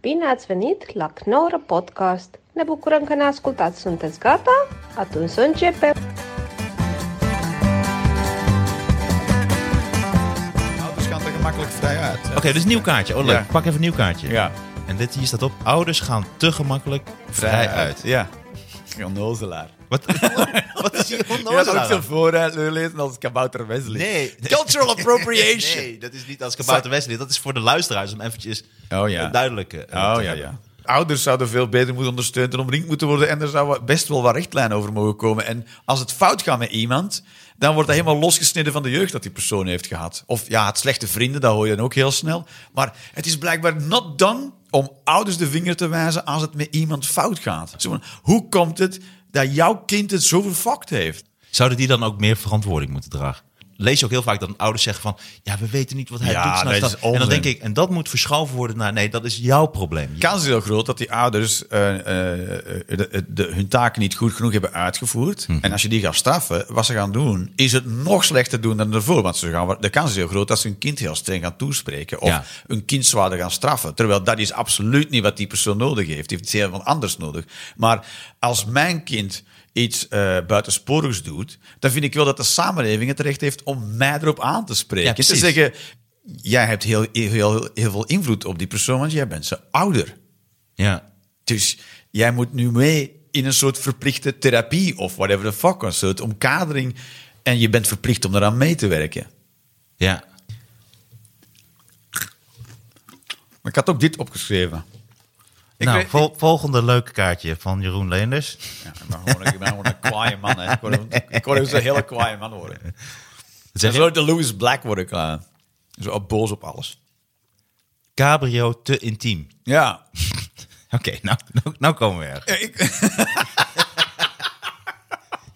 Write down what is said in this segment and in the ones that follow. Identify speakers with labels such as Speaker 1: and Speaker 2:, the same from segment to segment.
Speaker 1: Bine ați venit la Knorr Podcast! Ne bucurăm că ne ascultați! Sunteți gata? Atunci să începem!
Speaker 2: Ouders gaan er gemakkelijk vrij uit.
Speaker 3: Oké, dus nieuw kaartje. Oh, leuk.
Speaker 2: Ja.
Speaker 3: Pak even een nieuw kaartje.
Speaker 2: Ja,
Speaker 3: En dit hier staat op: ouders gaan te gemakkelijk vrij
Speaker 2: uit.
Speaker 3: uit. Ja.
Speaker 2: een onnozelaar.
Speaker 3: Wat, wat is hier
Speaker 2: Je had
Speaker 3: onnozel
Speaker 2: ook
Speaker 3: aan?
Speaker 2: zo'n vooruit lezen als Kabouter Wesley.
Speaker 3: Nee.
Speaker 2: Cultural appropriation.
Speaker 3: Nee, dat is niet als Kabouter Wesley. Dat is voor de luisteraars om eventjes
Speaker 2: Oh, ja.
Speaker 3: eh, duidelijk eh,
Speaker 2: Oh
Speaker 3: te
Speaker 2: ja,
Speaker 3: hebben.
Speaker 2: ja. Ouders zouden veel beter moeten ondersteund en omringd moeten worden. En er zou wel- best wel wat richtlijn over mogen komen. En als het fout gaat met iemand, dan wordt dat helemaal losgesneden van de jeugd dat die persoon heeft gehad. Of ja, het slechte vrienden, dat hoor je dan ook heel snel. Maar het is blijkbaar not done om ouders de vinger te wijzen als het met iemand fout gaat. Zo van, hoe komt het dat jouw kind het zo verfokt heeft?
Speaker 3: Zouden die dan ook meer verantwoording moeten dragen? Lees je ook heel vaak dat ouders zeggen van... ja, we weten niet wat hij
Speaker 2: Ja,
Speaker 3: doet. s'nachts.
Speaker 2: dat is
Speaker 3: en dan
Speaker 2: onzin.
Speaker 3: denk ik, en dat moet verschoven worden naar... nee, dat is jouw probleem.
Speaker 2: kans is heel groot dat die ouders eh, eh, eh, de, de- hun taken niet goed genoeg hebben uitgevoerd. En als je die gaat straffen, wat ze gaan doen, is het nog slechter doen dan ervoor. Want ze gaan, de kans is heel groot dat ze hun kind heel streng gaan toespreken. Of
Speaker 3: Ja.
Speaker 2: hun kind zwaarder gaan straffen. Terwijl dat is absoluut niet wat die persoon nodig heeft. Die heeft iets heel wat anders nodig. Maar als mijn kind iets eh buitensporigs doet, dan vind ik wel dat de samenleving het recht heeft om mij erop aan te spreken. En
Speaker 3: Ja,
Speaker 2: te
Speaker 3: precies.
Speaker 2: zeggen, jij hebt heel, heel, heel, heel veel invloed op die persoon, want jij bent zijn ouder.
Speaker 3: Ja.
Speaker 2: Dus jij moet nu mee in een soort verplichte therapie of whatever the fuck, een soort omkadering. En je bent verplicht om eraan mee te werken.
Speaker 3: ja.
Speaker 2: Maar ik had ook dit opgeschreven. Ik
Speaker 3: nou,
Speaker 2: weet-
Speaker 3: vol- volgende leuke kaartje van Jeroen Leenders.
Speaker 2: Ja, ik ben gewoon, ik ben gewoon een kwaaie man. Hè. Ik word ook- Ik word ook zo'n hele kwaaie man worden.
Speaker 3: Zeg
Speaker 2: En
Speaker 3: je,
Speaker 2: zo de Louis Black word ik. eh, zo op- boos op alles.
Speaker 3: cabrio te intiem.
Speaker 2: Ja.
Speaker 3: Oké, nou, nou, nou komen we erg.
Speaker 2: Ja, ik-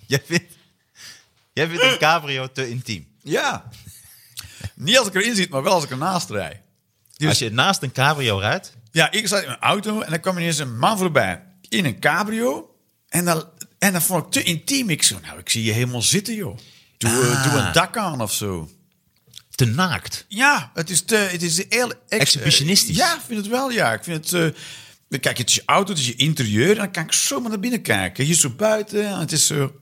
Speaker 3: Jij vindt, jij vindt een cabrio te intiem.
Speaker 2: ja. Niet als ik erin zit, maar wel als ik ernaast rij. Dus-
Speaker 3: Als je naast een cabrio rijdt...
Speaker 2: Ja, ik zat in mijn auto en dan kwam ineens een man voorbij in een cabrio. En dan, en dan vond ik te intiem. Ik zo, nou, ik zie je helemaal zitten, joh. Doe, eh,
Speaker 3: Ah.
Speaker 2: doe een dak aan of zo.
Speaker 3: te naakt.
Speaker 2: Ja, het is, te, het is heel... ex-
Speaker 3: Exhibitionistisch.
Speaker 2: eh, ja, ik vind het wel, ja. Ik vind het... eh, kijk, het is je auto, het is je interieur. En dan kan ik zomaar naar binnen kijken. Hier zo buiten. en Het is zo...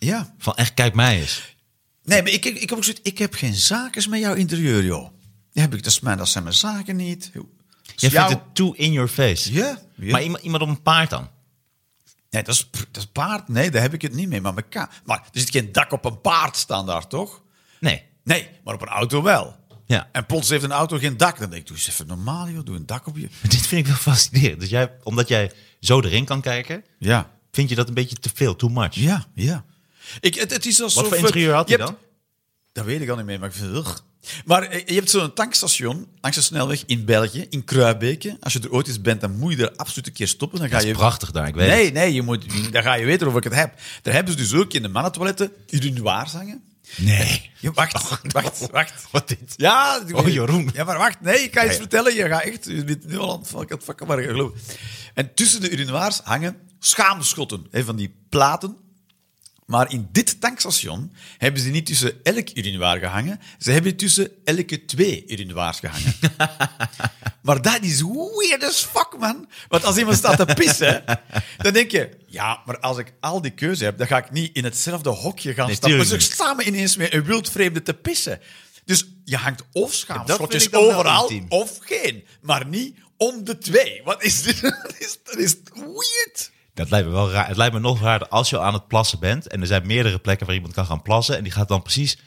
Speaker 2: Ja.
Speaker 3: Van echt, kijk mij eens.
Speaker 2: Nee, maar ik, ik, ik heb ook zoiets... Ik heb geen zaken met jouw interieur, joh. Die heb ik, dat, is mijn, dat zijn mijn zaken niet.
Speaker 3: Jij
Speaker 2: Jouw-
Speaker 3: vindt het too in your face.
Speaker 2: Ja, ja.
Speaker 3: Maar iemand, iemand op een paard dan?
Speaker 2: Nee, dat is, dat is paard. Nee, daar heb ik het niet mee. Maar, met ka- maar er zit geen dak op een paard standaard, toch?
Speaker 3: Nee.
Speaker 2: Nee, maar op een auto wel.
Speaker 3: Ja.
Speaker 2: En plots heeft een auto geen dak. Dan denk ik, doe eens even normaal, joh. Doe een dak op je...
Speaker 3: Dit vind ik wel fascinerend. Dus jij, omdat jij zo erin kan kijken,
Speaker 2: Ja,
Speaker 3: vind je dat een beetje te veel, too much.
Speaker 2: ja, ja. Ik, het, het is alsof...
Speaker 3: Wat voor
Speaker 2: eh,
Speaker 3: interieur had
Speaker 2: je
Speaker 3: hij
Speaker 2: hebt-
Speaker 3: dan?
Speaker 2: Dat weet ik al niet meer, maar ik vind het... ugh. Maar eh, je hebt zo'n tankstation langs de snelweg in België, in Kruibeke. Als je er ooit eens bent, dan moet je er absoluut een keer stoppen. Dan ga
Speaker 3: Dat is
Speaker 2: je...
Speaker 3: prachtig daar, ik weet
Speaker 2: nee, nee, je moet, dan ga je weten of ik het heb. Daar hebben ze dus ook in de mannentoiletten urinoirs hangen.
Speaker 3: het. Nee.
Speaker 2: Je, wacht, wacht, wacht.
Speaker 3: Wat dit?
Speaker 2: Ja,
Speaker 3: Oh, Jeroen. Ah,
Speaker 2: Ja, maar wacht. Nee, ik kan je iets
Speaker 3: Ja, ja.
Speaker 2: vertellen. Je gaat echt... Je bent nu al aan het fuck- aan het fucken, maar geloof me. En tussen de urinoirs hangen schaamschotten hè, van die platen. Maar in dit tankstation hebben ze niet tussen elk urinoir gehangen. Ze hebben tussen elke twee urinoirs gehangen. Maar dat is weird as fuck, man. Want als iemand staat te pissen, dan denk je... Ja, maar als ik al die keuze heb, dan ga ik niet in hetzelfde hokje gaan Dus
Speaker 3: Nee,
Speaker 2: staan. Maar
Speaker 3: tuurlijk
Speaker 2: ze
Speaker 3: niet.
Speaker 2: samen ineens met een wildvreemde te pissen. Dus je hangt of
Speaker 3: vind
Speaker 2: schaamschotjes
Speaker 3: ik dan wel
Speaker 2: overal,
Speaker 3: intiem.
Speaker 2: of geen. Maar niet om de twee. Wat is dit? Dat is, dat is weird.
Speaker 3: Dat lijkt me wel raar. Het lijkt me nog raarder als je aan het plassen bent. En er zijn meerdere plekken waar iemand kan gaan plassen. En die gaat dan precies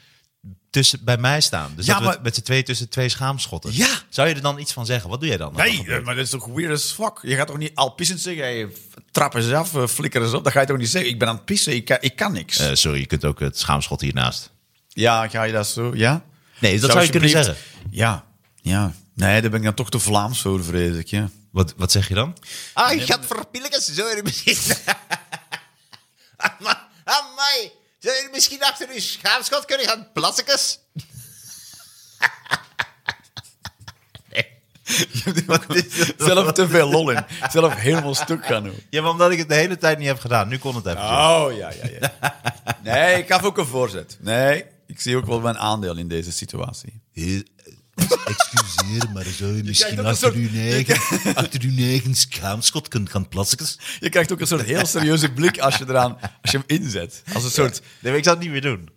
Speaker 3: tussen, bij mij staan. Dus
Speaker 2: Ja,
Speaker 3: dat we
Speaker 2: maar-
Speaker 3: het met z'n twee tussen twee schaamschotten.
Speaker 2: Ja.
Speaker 3: Zou je er dan iets van zeggen? Wat doe jij dan?
Speaker 2: Nee, eh, maar dat is toch weird as fuck? Je gaat toch niet al pissend zeggen, hey, f- trap eens af, eh, flikker eens op. Dat ga je toch niet zeggen, ik ben aan het pissen, ik kan, ik kan niks.
Speaker 3: Eh, sorry, je kunt ook het schaamschot hiernaast.
Speaker 2: Ja, ga je dat zo? Ja?
Speaker 3: Nee, dat zou je kunnen
Speaker 2: alsjeblieft-
Speaker 3: zeggen.
Speaker 2: Ja, ja. Nee, daar ben ik dan toch te Vlaams voor, vrees ik. Ja.
Speaker 3: Wat, wat zeg je dan?
Speaker 4: Ah, ik had verpillen, zou je er misschien... Amma- Amai, zou je er misschien achter uw schaamschot kunnen gaan plassekes?
Speaker 2: Zelf te veel lol in. Zelf helemaal stuk gaan doen.
Speaker 3: Ja, maar omdat ik het de hele tijd niet heb gedaan. Nu kon het even.
Speaker 2: Oh, ja, ja, ja. Nee, ik gaf ook een voorzet. Nee, ik zie ook wel mijn aandeel in deze situatie.
Speaker 3: Is-
Speaker 5: Excuseer, maar zou je misschien
Speaker 2: dat is
Speaker 5: achter,
Speaker 2: toch-
Speaker 5: uw eigen, achter uw eigen schaamschot kunnen gaan plassen?
Speaker 2: Je krijgt ook een soort heel serieuze blik als je, eraan, als je hem inzet. Als een soort,
Speaker 3: Nee, maar ik zou het niet meer doen.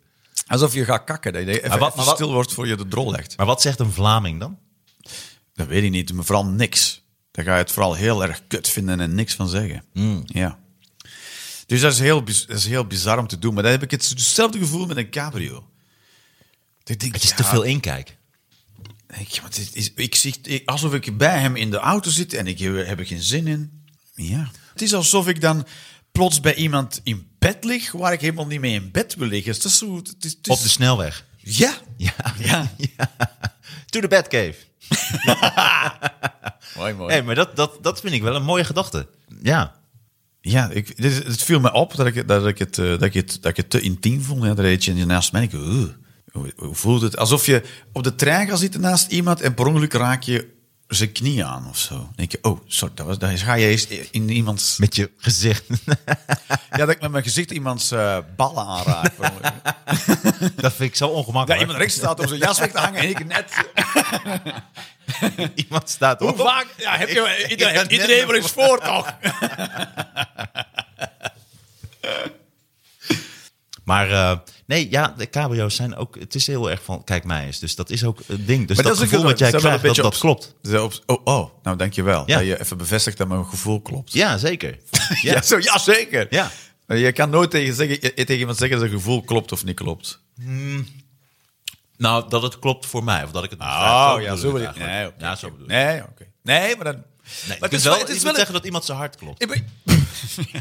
Speaker 2: alsof je gaat kakken. Dat je even,
Speaker 3: Maar wat-
Speaker 2: even
Speaker 3: maar wat-
Speaker 2: stil wordt voor je de drol legt.
Speaker 3: Maar wat zegt een Vlaming dan?
Speaker 2: Dat weet ik niet, maar vooral niks. Dan ga je het vooral heel erg kut vinden en niks van zeggen.
Speaker 3: Hmm.
Speaker 2: Ja. Dus dat is, heel, biz- dat is heel bizar om te doen. Maar dan heb ik het, hetzelfde gevoel met een cabrio. Ik denk,
Speaker 3: Het is
Speaker 2: ja,
Speaker 3: te veel inkijk.
Speaker 2: Ik, ja, maar dit is, ik zie, ik- alsof ik bij hem in de auto zit en ik heb, heb er geen zin in. Ja. Het is alsof ik dan plots bij iemand in bed lig waar ik helemaal niet mee in bed wil liggen. Dus dat is zo, het is, het is-
Speaker 3: Op de snelweg.
Speaker 2: ja.
Speaker 3: Ja.
Speaker 2: Ja.
Speaker 3: To the Batcave.
Speaker 2: Mooi, mooi.
Speaker 3: Nee, maar dat, dat, dat vind ik wel een mooie gedachte. Ja.
Speaker 2: Ja, ik, dit, is- het viel me op dat ik, het- dat ik, het, eh, dat ik, het, dat ik het te intiem vond. Ja, dat je naast mij. Ik, oeh, hoe, hoe voelt het? Alsof je op de trein gaat zitten naast iemand en per ongeluk raak je zijn knie aan of zo. Dan denk je, oh, sorry, dat was, daar ga je eens in iemands...
Speaker 3: Met je gezicht.
Speaker 2: Ja, dat ik met mijn gezicht iemands eh, ballen aanraak. per ongeluk.
Speaker 3: dat vind ik zo
Speaker 2: dat
Speaker 3: ongemakkelijk.
Speaker 2: iemand rechts staat om zijn jas weg te hangen en ik net...
Speaker 3: Iemand staat op.
Speaker 2: Hoe vaak? Ja, heb je,
Speaker 3: Ik-
Speaker 2: iedereen,
Speaker 3: ik had net
Speaker 2: iedereen
Speaker 3: nog-
Speaker 2: wel eens voor, toch?
Speaker 3: Maar eh, nee, ja, de cabrio's zijn ook... Het is heel erg van, kijk mij eens. Dus dat is ook een ding. Dus
Speaker 2: Maar
Speaker 3: dat,
Speaker 2: is ook
Speaker 3: gevoel
Speaker 2: wel-
Speaker 3: wat jij
Speaker 2: zijn wel
Speaker 3: krijgt, dat,
Speaker 2: een
Speaker 3: dat
Speaker 2: beetje op-
Speaker 3: klopt.
Speaker 2: zijn op- Oh, oh, nou dankjewel.
Speaker 3: Ja.
Speaker 2: Dat je even bevestigt dat mijn gevoel klopt.
Speaker 3: Ja, zeker.
Speaker 2: Ja,
Speaker 3: Ja.
Speaker 2: zo, ja zeker.
Speaker 3: Ja.
Speaker 2: Maar Je kan nooit tegen, zeggen, eh, tegen iemand zeggen dat het gevoel klopt of niet klopt.
Speaker 3: Nou, dat het klopt voor mij. Of dat
Speaker 2: Ah,
Speaker 3: ik het begrijp. Ah,
Speaker 2: oh
Speaker 3: bedoel ik het eigenlijk.
Speaker 2: Nee, oké.
Speaker 3: Ja, zo bedoel ik.
Speaker 2: Nee, oké. Nee, maar dan...
Speaker 3: Nee,
Speaker 2: maar
Speaker 3: het is wel, het is wel zeggen dat iemand zijn hart klopt.
Speaker 2: Ik ben-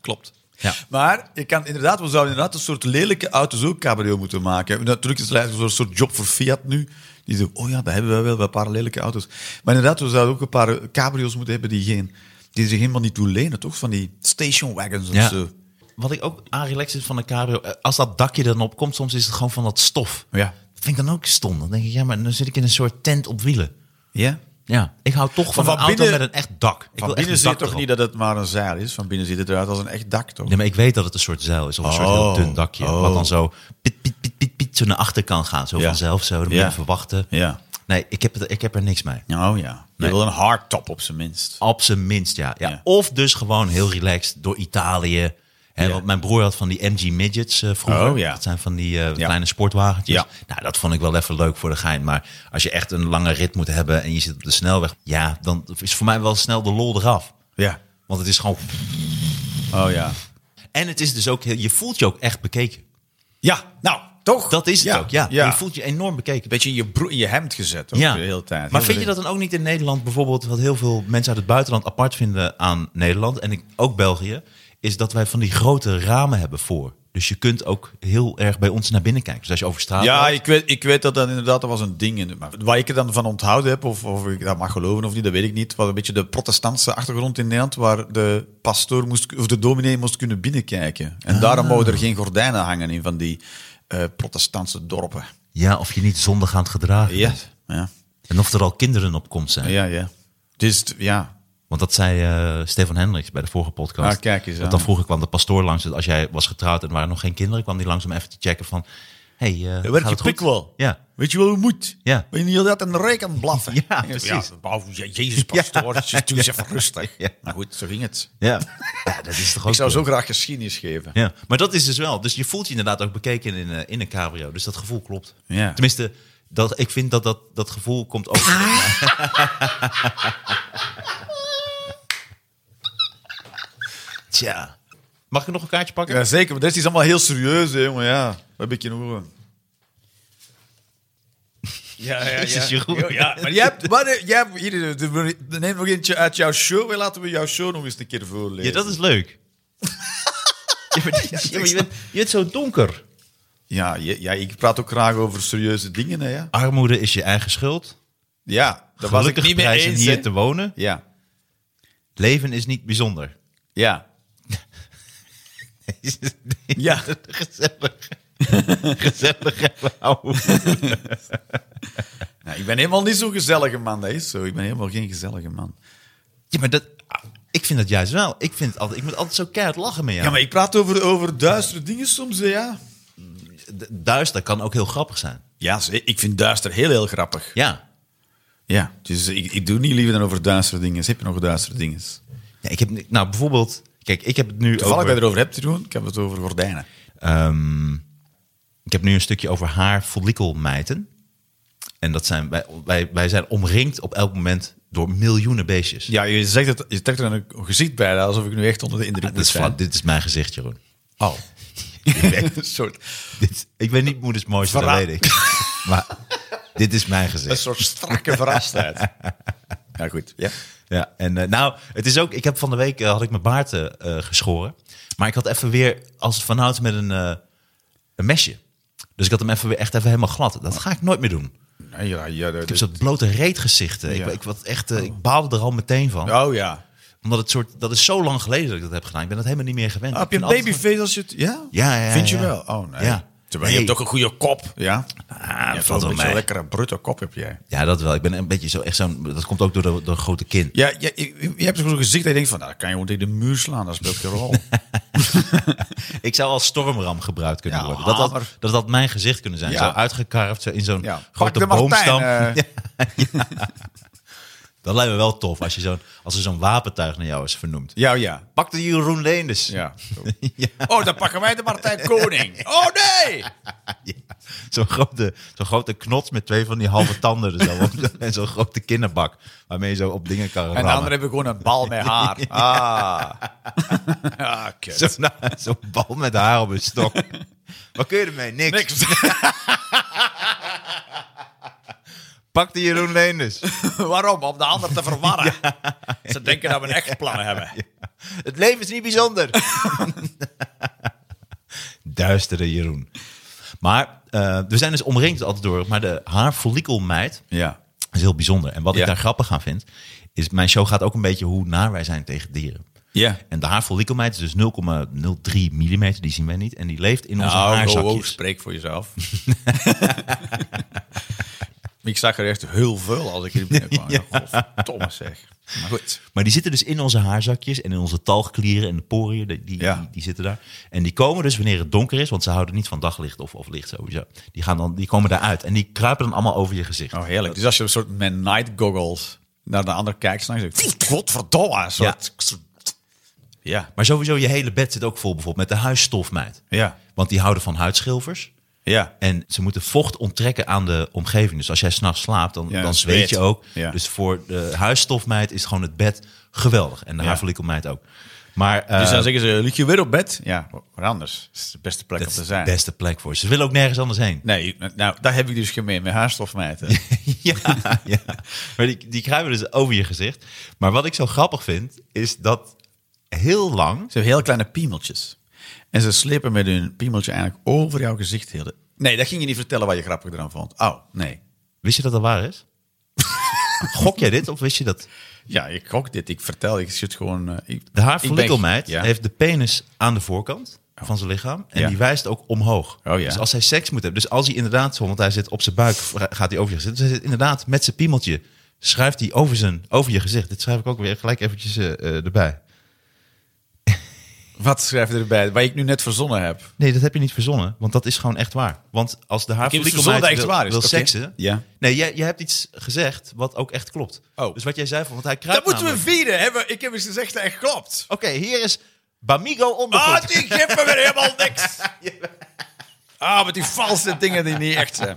Speaker 2: Klopt.
Speaker 3: Ja.
Speaker 2: Maar je kan inderdaad, we zouden inderdaad een soort lelijke auto's ook cabrio moeten maken. Natuurlijk is het eigenlijk een soort job voor Fiat nu. Die zeggen, oh ja, daar hebben we wel een paar lelijke auto's. Maar inderdaad, we zouden ook een paar eh, cabrio's moeten hebben die, geen, die zich helemaal niet toe lenen, toch? Van die station wagons of zo.
Speaker 3: Dus, eh, Wat ik ook aanrelaxed is van een cabrio, eh, als dat dakje dan opkomt, soms is het gewoon van dat stof.
Speaker 2: Ja.
Speaker 3: Dat vind ik dan ook stom. Dan denk ik, ja, maar dan zit ik in een soort tent op wielen.
Speaker 2: Ja?
Speaker 3: Ja, ik hou toch van,
Speaker 2: van
Speaker 3: een auto
Speaker 2: binnen-
Speaker 3: met een echt dak. Ik
Speaker 2: Van
Speaker 3: wil
Speaker 2: binnen
Speaker 3: echt
Speaker 2: zie
Speaker 3: een
Speaker 2: je
Speaker 3: dak
Speaker 2: toch
Speaker 3: erop.
Speaker 2: niet dat het maar een zeil is? Van binnen ziet het eruit als een echt dak, toch?
Speaker 3: Nee, maar ik weet dat het een soort zeil is, of een soort heel
Speaker 2: Oh.
Speaker 3: dun dakje.
Speaker 2: Oh.
Speaker 3: Wat dan zo piet, piet, piet, piet, piet, zo naar achter kan gaan. Zo
Speaker 2: Ja.
Speaker 3: vanzelf, zo. Dan moet
Speaker 2: Ja.
Speaker 3: je even wachten.
Speaker 2: Ja.
Speaker 3: Nee, ik heb, het, ik heb er niks mee.
Speaker 2: Oh ja. Je
Speaker 3: Nee.
Speaker 2: wil een hardtop op zijn minst.
Speaker 3: Op zijn minst, ja. ja.
Speaker 2: Ja.
Speaker 3: Of dus gewoon heel relaxed door Italië. Hè,
Speaker 2: Ja.
Speaker 3: Want mijn broer had van die MG Midgets eh, vroeger.
Speaker 2: Oh, ja.
Speaker 3: Dat zijn van die eh,
Speaker 2: Ja.
Speaker 3: kleine sportwagentjes.
Speaker 2: Ja.
Speaker 3: Nou, dat vond ik wel even leuk voor de gein. Maar als je echt een lange rit moet hebben en je zit op de snelweg... Ja, dan is voor mij wel snel de lol eraf.
Speaker 2: Ja.
Speaker 3: Want het is gewoon...
Speaker 2: Oh ja.
Speaker 3: En het is dus ook... heel- Je voelt je ook echt bekeken.
Speaker 2: Ja, nou, toch?
Speaker 3: Dat is het
Speaker 2: Ja,
Speaker 3: ook, ja.
Speaker 2: ja.
Speaker 3: Je voelt je enorm bekeken.
Speaker 2: beetje in je, broek, in je hemd gezet ook,
Speaker 3: Ja.
Speaker 2: de hele tijd.
Speaker 3: Maar
Speaker 2: Heel
Speaker 3: vind je
Speaker 2: veel-
Speaker 3: dat dan ook niet in Nederland bijvoorbeeld, wat heel veel mensen uit het buitenland apart vinden aan Nederland en ik, ook België, is dat wij van die grote ramen hebben voor. Dus je kunt ook heel erg bij ons naar binnen kijken. Dus als je over straat
Speaker 2: Ja,
Speaker 3: loopt-
Speaker 2: ik weet, ik weet dat dat inderdaad dat was een ding. in- Maar wat ik er dan van onthouden heb, of, of ik dat mag geloven of niet, dat weet ik niet. was een beetje de protestantse achtergrond in Nederland, waar de pastoor moest, of de dominee moest kunnen binnenkijken.
Speaker 3: Ah.
Speaker 2: En daarom mogen er geen gordijnen hangen in van die eh, protestantse dorpen.
Speaker 3: ja, of je niet zondig aan het gedragen
Speaker 2: Ja.
Speaker 3: bent.
Speaker 2: Ja,
Speaker 3: En of er al kinderen op komst zijn.
Speaker 2: ja. ja. Dus, ja.
Speaker 3: Want dat zei eh, Stefan Hendricks bij de vorige podcast.
Speaker 2: Ah, kijk eens
Speaker 3: dat
Speaker 2: aan.
Speaker 3: dan vroeger kwam de pastoor langs. Dus als jij was getrouwd en er waren nog geen kinderen, kwam die langs om even te checken van... Hey, eh, gaat
Speaker 2: Werk je
Speaker 3: het goed?
Speaker 2: pik wel.
Speaker 3: Ja.
Speaker 2: Weet je wel hoe het moet?
Speaker 3: Ja.
Speaker 2: Weet je niet dat een rijk aan het blaffen?
Speaker 3: Ja, precies.
Speaker 2: Ja, je- Jezus, pastoor, doe eens even rustig.
Speaker 3: Ja.
Speaker 2: Maar goed, zo ging het.
Speaker 3: Ja. ja, dat is toch ook
Speaker 2: Ik zou
Speaker 3: cool.
Speaker 2: zo graag geschiedenis geven.
Speaker 3: Ja, maar dat is dus wel. Dus je voelt je inderdaad ook bekeken in, eh, in een cabrio. Dus dat gevoel klopt.
Speaker 2: Ja.
Speaker 3: Tenminste, dat, ik vind dat, dat dat gevoel komt ook. Tja. Mag ik nog een kaartje pakken?
Speaker 2: Ja, zeker, maar dit is allemaal heel serieus, hè, jongen. Ja, dat heb ik nou, eh? in oren. Ja, ja,
Speaker 3: Jezus, Jeroen.
Speaker 2: Maar jij hebt, maar, eh, jij hebt- hier, eh, neem nog eentje uit jouw show. En laten we jouw show nog eens een keer voorlezen.
Speaker 3: Ja, dat is leuk. ja, maar, ja, maar je, bent, je bent zo donker.
Speaker 2: ja, je- ja, ik praat ook graag over serieuze dingen, hè. Ja,
Speaker 3: Armoede is je eigen schuld.
Speaker 2: ja daar was ik
Speaker 3: Gelukkig
Speaker 2: niet mee
Speaker 3: prijzen
Speaker 2: eens,
Speaker 3: hier
Speaker 2: hè.
Speaker 3: te wonen.
Speaker 2: Ja,
Speaker 3: Leven is niet bijzonder.
Speaker 2: ja. Ja.
Speaker 3: Gezellig. Gezellig hebben houden.
Speaker 2: Oh. Nou, ik ben helemaal niet zo'n gezellige man, dat is zo. Ik ben helemaal geen gezellige man.
Speaker 3: Ja, maar dat, ik vind dat juist wel. Ik, vind het altijd, ik moet altijd zo keihard lachen met jou.
Speaker 2: Ja, maar ik praat over, over duistere dingen soms, hè, ja.
Speaker 3: D- Duister kan ook heel grappig zijn.
Speaker 2: Ja, ze- ik vind duister heel, heel grappig.
Speaker 3: Ja.
Speaker 2: Ja, dus ik, ik doe niet liever dan over duistere dingen. Heb je nog duistere dingen?
Speaker 3: ja ik heb, ni- nou, bijvoorbeeld... Kijk, ik heb het nu
Speaker 2: Toevallig
Speaker 3: over...
Speaker 2: dat je erover hebt te doen, ik heb het over gordijnen.
Speaker 3: Ehm, ik heb nu een stukje over haar follikelmijten. En dat zijn, wij, wij, wij zijn omringd op elk moment door miljoenen beestjes.
Speaker 2: Ja, je zegt het, je trekt er een gezicht bij, alsof ik nu echt onder de indruk
Speaker 3: dit, is
Speaker 2: ben.
Speaker 3: flauw. dit is mijn gezicht, Jeroen.
Speaker 2: Oh. een soort,
Speaker 3: Dit, ik weet niet moeders mooiste, dat
Speaker 2: Verraad.
Speaker 3: weet ik. Maar dit is mijn
Speaker 2: een
Speaker 3: gezicht.
Speaker 2: soort strakke verrastheid. Ja, goed. Ja.
Speaker 3: Ja, en eh, nou, het is ook. Ik heb van de week eh, had ik mijn baard eh, eh, geschoren. Maar ik had even weer als het vanouds met een, eh, een mesje. Dus ik had hem even weer echt even helemaal glad. Dat ga ik nooit meer doen.
Speaker 2: Ja, ja, ja, dat-
Speaker 3: Ik heb zo'n blote reetgezichten.
Speaker 2: Ja.
Speaker 3: Ik, ik, wat echt, eh, ik baalde er al meteen van.
Speaker 2: Oh ja.
Speaker 3: Omdat het soort, dat is zo lang geleden dat ik dat heb gedaan. Ik ben dat helemaal niet meer gewend.
Speaker 2: Ah, heb
Speaker 3: Ik
Speaker 2: je een
Speaker 3: vind altijd
Speaker 2: babyface als je het... Ja?
Speaker 3: Ja, ja, ja,
Speaker 2: Vind je
Speaker 3: ja.
Speaker 2: wel? Oh, nee.
Speaker 3: Ja.
Speaker 2: Terwijl je
Speaker 3: Nee.
Speaker 2: hebt ook een goede kop. Ja.
Speaker 3: Ah,
Speaker 2: je
Speaker 3: dat
Speaker 2: hebt
Speaker 3: valt
Speaker 2: wel
Speaker 3: wel
Speaker 2: een beetje
Speaker 3: mee.
Speaker 2: lekkere, brutte kop heb jij.
Speaker 3: van- Ja, dat wel. Ik ben een beetje zo echt zo'n. Dat komt ook door de, door de grote kin.
Speaker 2: Ja, ja, je, je hebt zo'n gezicht dat je denkt van, nou, dat kan je gewoon tegen de muur slaan, dat speelt geen rol.
Speaker 3: Ik zou als stormram gebruikt kunnen
Speaker 2: Ja,
Speaker 3: worden. Dat dat,
Speaker 2: hamer.
Speaker 3: dat dat mijn gezicht kunnen zijn.
Speaker 2: Ja.
Speaker 3: Zo uitgekarfd zo in zo'n
Speaker 2: Ja. Pak de
Speaker 3: grote
Speaker 2: Martijn, eh.
Speaker 3: boomstam. Ja, ja. Dat lijkt me wel tof als, je zo'n, als er zo'n wapentuig naar jou is vernoemd.
Speaker 2: ja, ja.
Speaker 3: Pak de Jeroen Leenders.
Speaker 2: ja. Oh, dan pakken wij de Martijn Koning. Oh, nee!
Speaker 3: Ja. Zo'n, grote, zo'n grote knots met twee van die halve tanden. er zo op. en zo'n grote kinderbak waarmee je zo op dingen kan
Speaker 2: En
Speaker 3: rammen.
Speaker 2: de anderen hebben gewoon een bal met haar. Ah. ah kut.
Speaker 3: Zo'n zo'n bal met haar op een stok. Wat kun je ermee? Niks.
Speaker 2: Niks.
Speaker 3: Pak de Jeroen Leenders.
Speaker 2: Waarom? Om de ander te verwarren. Ze denken dat we een echt plan hebben.
Speaker 3: Het leven is niet bijzonder. Duistere Jeroen. Maar eh, we zijn dus omringd altijd door. Maar de haarfollikelmeid
Speaker 2: Ja.
Speaker 3: is heel bijzonder. En wat
Speaker 2: Ja.
Speaker 3: ik daar grappig aan vind, is mijn show gaat ook een beetje hoe naar wij zijn tegen dieren.
Speaker 2: Ja.
Speaker 3: En de haarfollikelmeid is dus 0,03 mm, die zien wij niet. En die leeft in onze
Speaker 2: Nou,
Speaker 3: haarzakjes.
Speaker 2: ho, ho, spreek voor jezelf. ik zag er echt heel veel als ik hier binnenkwam. ja. Thomas zeg. Maar goed.
Speaker 3: Maar die zitten dus in onze haarzakjes en in onze talgklieren en de poriën. Die, die,
Speaker 2: Ja.
Speaker 3: die, die zitten daar. En die komen dus wanneer het donker is, want ze houden niet van daglicht of, of licht sowieso. Die, gaan dan, die komen daaruit en die kruipen dan allemaal over je gezicht.
Speaker 2: Oh, heerlijk. Dus als je een soort met night goggles naar de ander kijkt, dan zeg je, godverdomme. een Soort, ja.
Speaker 3: Maar sowieso je hele bed zit ook vol bijvoorbeeld met de huisstofmeid.
Speaker 2: Ja.
Speaker 3: Want die houden van huidschilfers.
Speaker 2: Ja.
Speaker 3: En ze moeten vocht onttrekken aan de omgeving. Dus als jij s'nachts slaapt, dan,
Speaker 2: Ja,
Speaker 3: dan
Speaker 2: zweet.
Speaker 3: zweet je ook.
Speaker 2: Ja.
Speaker 3: Dus voor de huisstofmeid is gewoon het bed geweldig. En de
Speaker 2: Ja.
Speaker 3: haarfollikelmeid ook. Maar, eh,
Speaker 2: Dus dan zeggen ze, lig je weer op bed? Ja, waar anders? Dat is de beste plek om
Speaker 3: dat is
Speaker 2: te
Speaker 3: de
Speaker 2: zijn.
Speaker 3: beste plek voor ze. Ze willen ook nergens anders heen.
Speaker 2: Nee, nou, daar heb ik dus gemeen met haarstofmijten.
Speaker 3: ja, ja. Maar die, die kruipen dus over je gezicht. Maar wat ik zo grappig vind, is dat heel lang...
Speaker 2: Ze hebben heel kleine piemeltjes. En ze slepen met hun piemeltje eigenlijk over jouw gezicht. Heel de... Nee, dat ging je niet vertellen wat je grappig eraan vond. Oh, nee.
Speaker 3: Wist je dat dat waar is? Gok jij dit of wist je dat?
Speaker 2: Ja, ik gok dit. Ik vertel, ik zit gewoon... eh, ik,
Speaker 3: De
Speaker 2: haarfollikelmeid
Speaker 3: haarfollikelmeid heeft de penis aan de voorkant van zijn lichaam. En
Speaker 2: Ja.
Speaker 3: die wijst ook omhoog.
Speaker 2: Oh ja.
Speaker 3: Dus als hij seks moet hebben. Dus als hij inderdaad, zo, want hij zit op zijn buik, vra- gaat hij over je gezicht. Dus hij zit inderdaad met zijn piemeltje, schuift hij over, zijn, over je gezicht. Dit schrijf ik ook weer gelijk eventjes eh, eh, erbij.
Speaker 2: Wat schrijf je erbij? Wat ik nu net verzonnen heb. Ik
Speaker 3: Nee, dat heb je niet verzonnen, want dat is gewoon echt waar. Want als de haarfollikelmeid
Speaker 2: verzonnen dat
Speaker 3: wil,
Speaker 2: het waar is,
Speaker 3: wil
Speaker 2: oké.
Speaker 3: seksen...
Speaker 2: Ja.
Speaker 3: Nee, jij, jij hebt iets gezegd wat ook echt klopt.
Speaker 2: Oh.
Speaker 3: Dus wat jij zei, van, want hij kruipt namelijk-
Speaker 2: vieren. Hebben. Ik heb eens gezegd dat echt klopt.
Speaker 3: Oké, hier is Bamigo ondergoed.
Speaker 2: Ah, die geven me weer helemaal niks. Ah, met die valse dingen die niet echt zijn.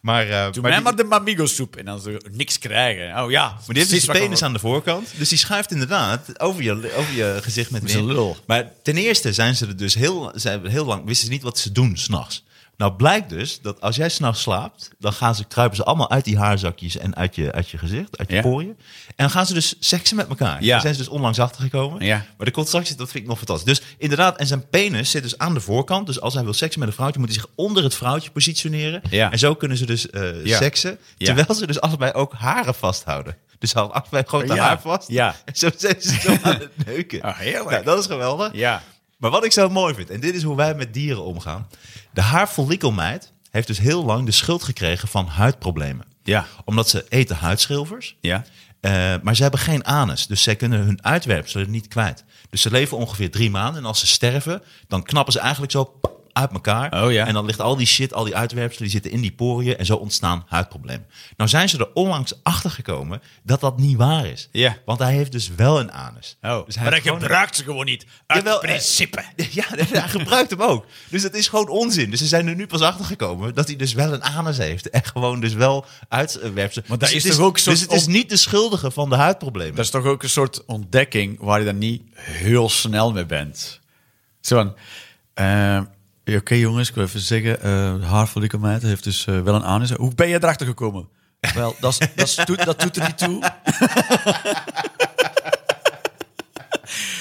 Speaker 3: maar, eh,
Speaker 2: Doe
Speaker 3: maar
Speaker 2: mij
Speaker 3: die-
Speaker 2: maar de Mamigo-soep en dan zo niks krijgen. Oh ja.
Speaker 3: Maar die heeft dus zijn penis aan de voorkant. Dus die schuift inderdaad over je, over je gezicht met
Speaker 2: zijn
Speaker 3: wind.
Speaker 2: lul.
Speaker 3: Maar ten eerste zijn ze er dus heel, zijn we heel lang... wisten ze niet wat ze doen s'nachts. Nou blijkt dus dat als jij s'nachts slaapt... dan gaan ze, kruipen ze allemaal uit die haarzakjes en uit je, uit je gezicht, uit je
Speaker 2: Ja.
Speaker 3: poriën. En dan gaan ze dus seksen met elkaar.
Speaker 2: Ja.
Speaker 3: Daar zijn ze dus onlangs achtergekomen.
Speaker 2: Ja.
Speaker 3: Maar de contractie, dat vind ik nog fantastisch. Dus inderdaad, en zijn penis zit dus aan de voorkant. Dus als hij wil seksen met een vrouwtje... moet hij zich onder het vrouwtje positioneren.
Speaker 2: Ja.
Speaker 3: En zo kunnen ze dus eh,
Speaker 2: Ja.
Speaker 3: seksen.
Speaker 2: Ja.
Speaker 3: Terwijl ze dus allebei ook haren vasthouden. Dus ze hadden allebei gewoon de
Speaker 2: Ja,
Speaker 3: haar vast.
Speaker 2: ja.
Speaker 3: En zo zijn ze zo aan het neuken.
Speaker 2: Ah, heerlijk.
Speaker 3: Nou, dat is geweldig.
Speaker 2: Ja.
Speaker 3: Maar wat ik zo mooi vind, en dit is hoe wij met dieren omgaan. De haarfollikelmeid heeft dus heel lang de schuld gekregen van huidproblemen.
Speaker 2: Ja.
Speaker 3: Omdat ze eten huidschilfers.
Speaker 2: Ja.
Speaker 3: Eh, maar ze hebben geen anus, dus zij kunnen hun uitwerpselen niet kwijt. Dus ze leven ongeveer drie maanden en als ze sterven, dan knappen ze eigenlijk zo pap, uit elkaar.
Speaker 2: Oh ja.
Speaker 3: En dan ligt al die shit, al die uitwerpselen, die zitten in die poriën. En zo ontstaan huidproblemen. Nou zijn ze er onlangs achter gekomen dat dat niet waar is.
Speaker 2: Ja. Oh.
Speaker 3: Want hij heeft dus wel een anus. Dus
Speaker 2: maar hij
Speaker 3: heeft gewoon een-
Speaker 2: gebruikt ze gewoon niet. Uit
Speaker 3: Jawel, eh,
Speaker 2: principe.
Speaker 3: Ja, hij gebruikt hem ook. Dus dat is gewoon onzin. Dus ze zijn er nu pas achter gekomen dat hij dus wel een anus heeft. En gewoon dus wel uitwerpselen.
Speaker 2: Maar daar
Speaker 3: dus
Speaker 2: is
Speaker 3: het
Speaker 2: toch ook zo'n
Speaker 3: Dus het is niet de schuldige van de huidproblemen.
Speaker 2: Dat is toch ook een soort ontdekking waar je dan niet heel snel mee bent. Zo van, eh, oké jongens, ik wil even zeggen, eh haarfollikelmeid heeft dus eh, wel een anus. Hoe ben je erachter gekomen? wel, dat, is- dat, is- doet, dat doet er niet toe.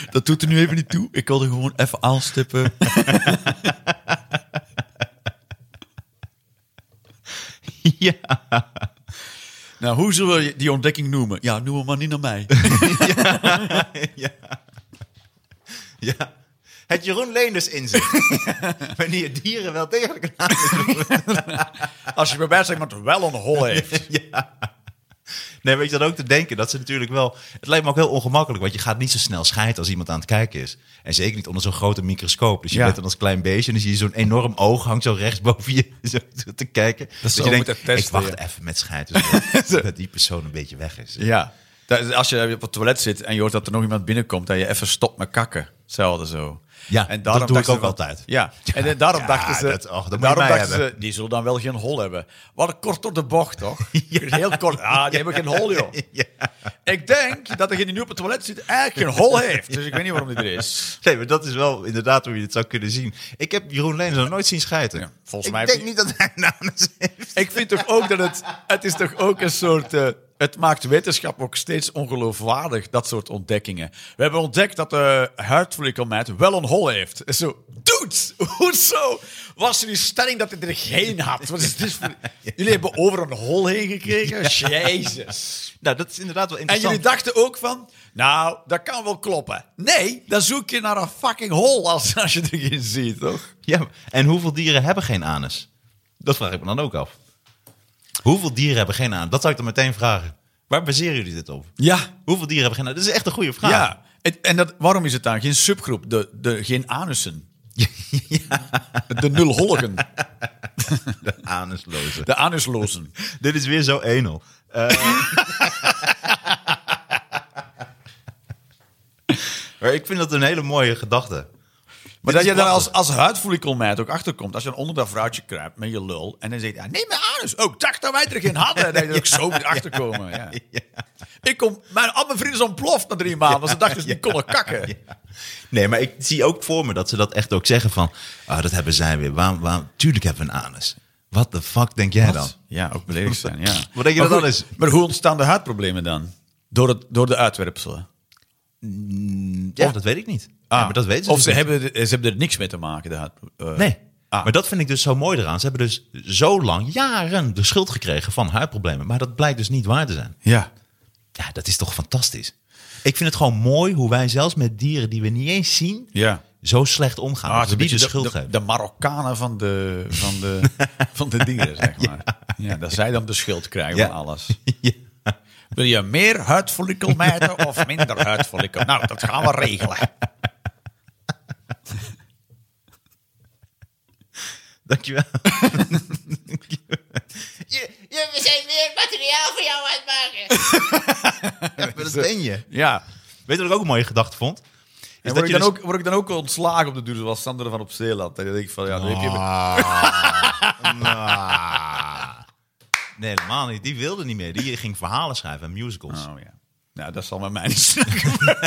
Speaker 2: dat doet er nu even niet toe. Ik wilde gewoon even aanstippen.
Speaker 3: Ja.
Speaker 2: nou, hoe zullen we die ontdekking noemen? Ja, noem hem maar niet naar mij.
Speaker 3: Ja. Het Jeroen Leenders inzicht. Wanneer dieren wel degelijk een anus
Speaker 2: Als je bij mij zegt, maar het wel een hol heeft.
Speaker 3: Nee, weet je dat ook te denken? Dat ze natuurlijk wel. Het lijkt me ook heel ongemakkelijk, want je gaat niet zo snel scheiden als iemand aan het kijken is. En zeker niet onder zo'n grote microscoop. Dus je
Speaker 2: Ja.
Speaker 3: bent dan als klein beestje en dan zie je zo'n enorm oog hangt zo rechts boven je zo te kijken. Dat,
Speaker 2: ze
Speaker 3: je
Speaker 2: ook
Speaker 3: denkt,
Speaker 2: moeten testen,
Speaker 3: ik wacht
Speaker 2: ja.
Speaker 3: even met scheiden. zodat- dat die persoon een beetje weg is.
Speaker 2: Ja. Dat- Als je op het toilet zit en je hoort dat er nog iemand binnenkomt, dat je even stopt met kakken. Hetzelfde zo.
Speaker 3: Ja,
Speaker 2: en
Speaker 3: dat doe ik
Speaker 2: dachten
Speaker 3: ook
Speaker 2: ze-
Speaker 3: altijd.
Speaker 2: Ja, en eh, daarom
Speaker 3: Ja,
Speaker 2: dachten ze,
Speaker 3: dat- och, dat moet je
Speaker 2: daarom
Speaker 3: mij
Speaker 2: dachten ze,
Speaker 3: hebben.
Speaker 2: die zullen dan wel geen hol hebben. Wat een kort op de bocht, toch? Heel kort, ah, die hebben geen hol, joh.
Speaker 3: Ja.
Speaker 2: Ik denk dat degene die nu op het toilet zit eigenlijk geen hol heeft. Dus ik weet niet waarom die er is.
Speaker 3: Nee, maar dat is wel inderdaad hoe je het zou kunnen zien. Ik heb Jeroen Leenders nog nooit zien scheiden.
Speaker 2: Ja, volgens
Speaker 3: ik
Speaker 2: mij
Speaker 3: denk
Speaker 2: heeft-
Speaker 3: niet dat hij een anus heeft.
Speaker 2: Ik vind toch ook dat het, het is toch ook een soort, eh, het maakt wetenschap ook steeds ongeloofwaardig, dat soort ontdekkingen. We hebben ontdekt dat de huidfollikelmeid wel een hol heeft. En Zo, dude, hoezo was er die stelling dat het er geen had? Wat is dit voor- Jullie hebben over een hol heen gekregen? Jezus.
Speaker 3: Nou, dat is inderdaad wel
Speaker 2: En
Speaker 3: interessant.
Speaker 2: jullie dachten ook van, nou, dat kan wel kloppen. Nee, dan zoek je naar een fucking hol als, als je erin ziet, toch?
Speaker 3: Ja, maar- en hoeveel dieren hebben geen anus? Dat vraag ik me dan ook af. Hoeveel dieren hebben geen anus? Dat zou ik dan meteen vragen. Waar baseren jullie dit op?
Speaker 2: Ja,
Speaker 3: Hoeveel dieren hebben geen anus? Dat is echt een goede vraag.
Speaker 2: Ja, en, en dat, waarom is het dan geen subgroep? De, de, geen anussen. De nulholligen.
Speaker 3: De anusloze.
Speaker 2: De anuslozen.
Speaker 3: Dit is weer zo enel. Eh. maar ik vind dat een hele mooie gedachte.
Speaker 2: Maar dat
Speaker 3: Dit is
Speaker 2: je dan als,
Speaker 3: prachtig.
Speaker 2: als huidfollikelmeid ook achterkomt, als je dan onder dat vrouwtje kruipt met je lul en dan zegt, ja, neem mijn anus. Oh, ik dacht dat wij er geen hadden. Dat je er ook zo moet achterkomen. Ja. Ik kom, mijn, al mijn vrienden zijn ontploft na drie maanden, want ze dachten dat ze niet konden kakken.
Speaker 3: Ja. Nee, maar ik zie ook voor me dat ze dat echt ook zeggen van... Ah, dat hebben zij weer. Waarom, waarom, tuurlijk hebben we een anus. What the fuck denk jij dan?
Speaker 2: Ja, ook beledigd zijn, ja.
Speaker 3: Wat denk je
Speaker 2: Maar
Speaker 3: dat
Speaker 2: goed,
Speaker 3: dat is?
Speaker 2: Maar hoe ontstaan de huidproblemen dan? Door, het, door de uitwerpselen?
Speaker 3: Ja, dat weet ik niet. ja, maar dat weten ze
Speaker 2: Of
Speaker 3: dus
Speaker 2: ze
Speaker 3: niet.
Speaker 2: hebben, er- ze hebben er niks mee te maken, de huid, eh,
Speaker 3: Nee.
Speaker 2: Ah.
Speaker 3: Maar dat vind ik dus zo mooi eraan. Ze hebben dus zo lang, jaren, de schuld gekregen van huidproblemen. Maar dat blijkt dus niet waar te zijn.
Speaker 2: Ja.
Speaker 3: Ja, dat is toch fantastisch. Ik vind het gewoon mooi hoe wij zelfs met dieren die we niet eens zien,
Speaker 2: Ja.
Speaker 3: zo slecht omgaan.
Speaker 2: Ah,
Speaker 3: dat we die de
Speaker 2: beetje
Speaker 3: schuld
Speaker 2: de,
Speaker 3: geven.
Speaker 2: de Marokkanen van de, van, de, van de dieren, zeg maar. Ja. dat zij dan de schuld krijgen
Speaker 3: Ja.
Speaker 2: van alles. Wil je meer huidfollikelmijten of minder huidfollikel? Nou, dat gaan we regelen.
Speaker 3: Dankjewel.
Speaker 4: Je, je, we zijn weer materiaal voor jou aan het maken.
Speaker 3: Ja, maar dat ben je.
Speaker 2: Ja.
Speaker 3: Weet je wat ik ook een mooie gedachte vond? Is
Speaker 2: En
Speaker 3: dat
Speaker 2: word,
Speaker 3: je
Speaker 2: ik dan
Speaker 3: dus-
Speaker 2: ook, word ik dan ook ontslagen op de duur, zoals Sander van op Zeeland? Dan denk ik van, ja, dan heb je...
Speaker 3: Nee, helemaal niet. Die wilde niet meer. Die ging verhalen schrijven en musicals.
Speaker 2: Oh ja. Nou, dat zal met mij niet zijn gebeuren.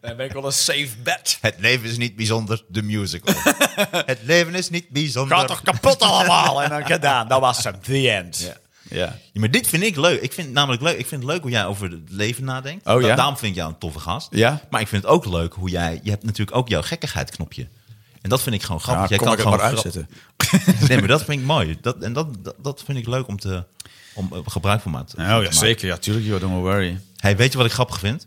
Speaker 2: Dan ben ik wel een safe bet.
Speaker 3: Het leven is niet bijzonder, de musical. het leven is niet bijzonder.
Speaker 2: Gaat toch kapot allemaal? En dan gedaan. Dat was hem. The end. Ja.
Speaker 3: Ja, maar dit vind ik leuk. Ik vind het namelijk leuk. Ik vind het leuk hoe jij over het leven nadenkt.
Speaker 2: Oh, ja?
Speaker 3: Daarom vind ik jou een toffe gast.
Speaker 2: Ja?
Speaker 3: Maar ik vind het ook leuk hoe jij. Je hebt natuurlijk ook jouw gekkigheidsknopje. En dat vind ik gewoon grappig. jij
Speaker 2: kon ik het maar
Speaker 3: gewoon
Speaker 2: uitzetten.
Speaker 3: grap- Nee, maar dat vind ik mooi. Dat, en dat, dat, dat vind ik leuk om, te, om eh, gebruik van maat te
Speaker 2: Nou ja,
Speaker 3: maken.
Speaker 2: zeker. Ja, tuurlijk, joh, don't worry.
Speaker 3: Hey, weet je wat ik grappig vind?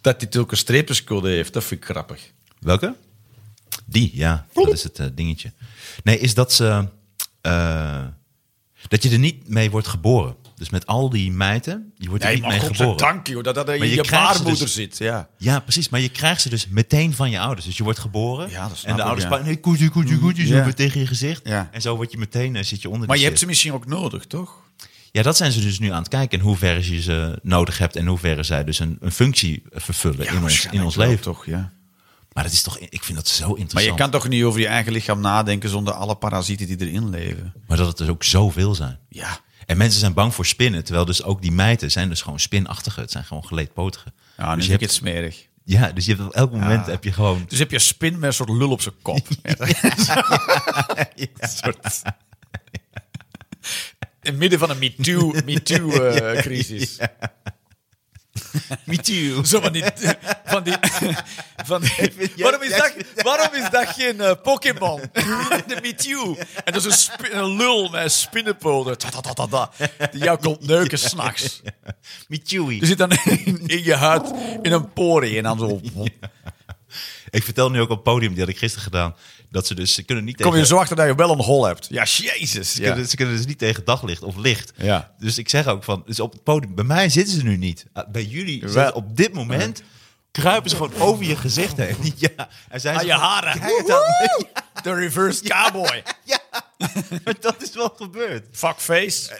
Speaker 2: Dat hij ook een streepjescode heeft, dat vind ik grappig.
Speaker 3: Welke? Die, ja. Dat is het eh, dingetje. Nee, is dat ze. eh, dat je er niet mee wordt geboren. Dus met al die meiden, je wordt er
Speaker 2: Nee,
Speaker 3: niet
Speaker 2: maar
Speaker 3: mee geboren.
Speaker 2: God, dank je, dat dat in
Speaker 3: Maar
Speaker 2: je,
Speaker 3: je krijgt ze
Speaker 2: baarmoeder
Speaker 3: dus.
Speaker 2: zit. Ja.
Speaker 3: Ja, precies. Maar je krijgt ze dus meteen van je ouders. Dus je wordt geboren.
Speaker 2: Ja, dat snap
Speaker 3: en de
Speaker 2: ik, ja. Mm,
Speaker 3: ouders pakken, nee, koetje, koetje, koetje, zo
Speaker 2: Ja.
Speaker 3: weer tegen je gezicht.
Speaker 2: Ja.
Speaker 3: En zo word je meteen, eh, zit je onder
Speaker 2: Maar
Speaker 3: die
Speaker 2: je hebt ze
Speaker 3: shit.
Speaker 2: misschien ook nodig, toch?
Speaker 3: Ja, dat zijn ze dus nu aan het kijken. In hoeverre je ze nodig hebt en in hoeverre zij dus een, een functie eh, vervullen in, ons, in
Speaker 2: waarschijnlijk
Speaker 3: ons
Speaker 2: wel,
Speaker 3: leven.
Speaker 2: Toch, ja.
Speaker 3: Maar dat is toch, ik vind dat zo interessant.
Speaker 2: Maar je kan toch niet over je eigen lichaam nadenken zonder alle parasieten die erin leven?
Speaker 3: Maar dat het dus ook zoveel zijn.
Speaker 2: Ja.
Speaker 3: En mensen zijn bang voor spinnen, terwijl dus ook die meiden zijn dus gewoon spinachtige. Het zijn gewoon geleedpotigen.
Speaker 2: Ja, nu vind
Speaker 3: dus, je
Speaker 2: ik het
Speaker 3: hebt,
Speaker 2: smerig.
Speaker 3: ja, dus je hebt op elk moment heb je gewoon
Speaker 2: Dus heb je een spin met een soort lul op zijn kop. Een soort- In het midden van een MeToo-crisis. Me Too, eh, crisis. Zo van die... Van die, van die- waarom, is dat, waarom is dat geen eh, Pokémon? De MeToo. En dat is een, spi- een lul met een spinnenpolder. Ta, ta, ta, ta, ta, die jou komt neuken s'nachts.
Speaker 3: Michoui.
Speaker 2: Je zit dan in, in je huid in een porie en dan zo...
Speaker 3: Ik vertel nu ook op het podium, die had ik gisteren gedaan, dat ze dus, ze kunnen niet
Speaker 2: Kom je
Speaker 3: tegen...
Speaker 2: er zo achter dat je wel een hol hebt. Ja, jezus.
Speaker 3: Ze,
Speaker 2: Ja.
Speaker 3: kunnen, ze kunnen dus niet tegen daglicht of licht.
Speaker 2: Ja.
Speaker 3: Dus ik zeg ook van, dus op het podium, bij mij zitten ze nu niet. Ah, Bij jullie
Speaker 2: Wel.
Speaker 3: zitten op dit moment, kruipen ze gewoon over je gezicht heen. Ja, en zijn
Speaker 2: Aan
Speaker 3: ze
Speaker 2: je
Speaker 3: gewoon-
Speaker 2: haren.
Speaker 3: Kijk dan.
Speaker 2: De reverse cowboy.
Speaker 3: Maar dat is wel gebeurd.
Speaker 2: Fuckface.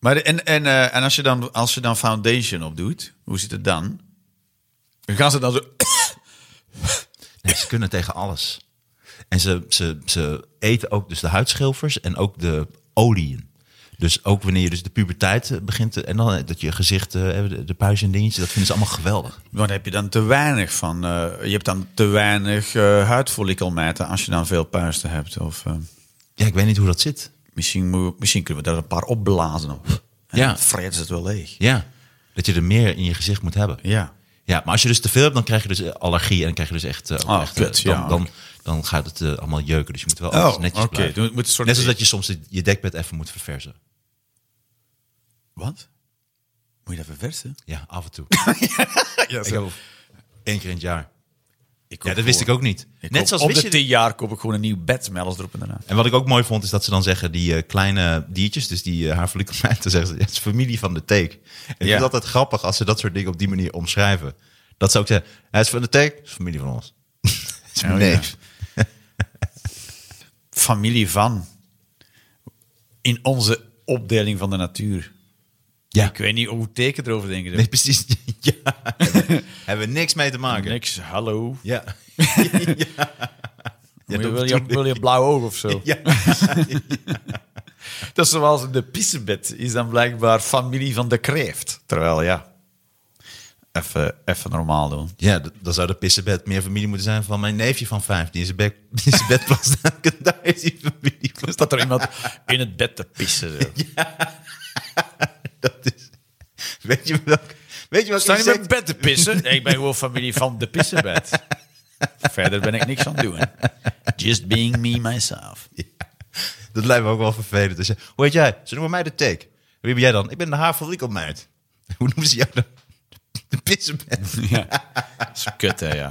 Speaker 2: maar de- en, en, eh, en als, je dan, als je dan foundation opdoet, hoe zit het dan? Dan gaan ze dan zo...
Speaker 3: Nee, ze kunnen tegen alles. En ze, ze, ze eten ook dus de huidschilfers en ook de oliën. Dus ook wanneer je dus de puberteit eh, begint te- en dan eh, dat je gezicht, eh, de, de puist en dingetje, dat vinden ze allemaal geweldig.
Speaker 2: Maar dan heb je dan te weinig van... eh, je hebt dan te weinig eh huidfollikelmijten als je dan veel puisten hebt. Of eh,
Speaker 3: Ja, ik weet niet hoe dat zit.
Speaker 2: misschien, moet- misschien kunnen we daar een paar opblazen. Op. En
Speaker 3: Ja.
Speaker 2: dan vreten ze het wel leeg.
Speaker 3: Ja, dat je er meer in je gezicht moet hebben.
Speaker 2: Ja.
Speaker 3: Ja, maar als je dus te veel hebt, dan krijg je dus eh, allergie en dan krijg je dus echt... eh, ook
Speaker 2: Ah,
Speaker 3: echt, eh,
Speaker 2: kut,
Speaker 3: dan,
Speaker 2: ja. Oh,
Speaker 3: dan, dan gaat het eh, allemaal jeuken, dus je moet wel alles netjes
Speaker 2: oké.
Speaker 3: blijven.
Speaker 2: Dan moet het een soort-
Speaker 3: Net zoals dat je soms je dekbed even moet verversen.
Speaker 2: Wat? Moet je dat verversen?
Speaker 3: Ja, af en toe.
Speaker 2: Ja,
Speaker 3: Ik heb één keer in het jaar.
Speaker 2: Ik
Speaker 3: Ja, dat wist ik ook niet. Net zoals
Speaker 2: op
Speaker 3: wist
Speaker 2: de
Speaker 3: je...
Speaker 2: tien jaar koop ik gewoon een nieuw bed met alles erop en daarna.
Speaker 3: En wat ik ook mooi vond, is dat ze dan zeggen, die eh, kleine diertjes, dus die uh, haarfollikelmijten, zeggen ze, ja, het is familie van de teek. En het
Speaker 2: Ja.
Speaker 3: is altijd grappig als ze dat soort dingen op die manier omschrijven. Dat ze ook zeggen, hij is van de teek, het is familie van ons. Het is mijn
Speaker 2: Oh, ja.
Speaker 3: neef.
Speaker 2: Familie van. In onze opdeling van de natuur.
Speaker 3: Ja.
Speaker 2: Ik weet niet hoe teken erover denken.
Speaker 3: Nee, precies. Ja. Hebben- Hebben we niks mee te maken.
Speaker 2: Niks, hallo.
Speaker 3: Ja.
Speaker 2: Wil je-
Speaker 3: dat
Speaker 2: wil, je,
Speaker 3: bedoel
Speaker 2: wil je blauw oog of zo?
Speaker 3: Ja.
Speaker 2: Dat is zoals de pissebed is dan blijkbaar familie van de kreeft. Terwijl, ja, even, even normaal doen.
Speaker 3: Ja, d- dan zou de pissebed meer familie moeten zijn van mijn neefje van vijf. Die in zijn, bek, in zijn bed plast. En Daar is die familie van.
Speaker 2: Staat er iemand in het bed te pissen? Zo.
Speaker 3: Dat is... Weet je welk... Weet je welk
Speaker 2: Sta je in mijn
Speaker 3: insect-
Speaker 2: bed te pissen? Nee, ik ben gewoon familie van de pissenbed. Verder ben ik niks aan het doen. Just being me, myself.
Speaker 3: Dat lijkt me ook wel vervelend. Dus, eh, hoe heet jij? Ze noemen mij de take. Wie ben jij dan? Ik ben de haarfollikelmeid. Hoe noemen ze jou dan? De pissebed.
Speaker 2: Ja. Dat is kut, hè, ja.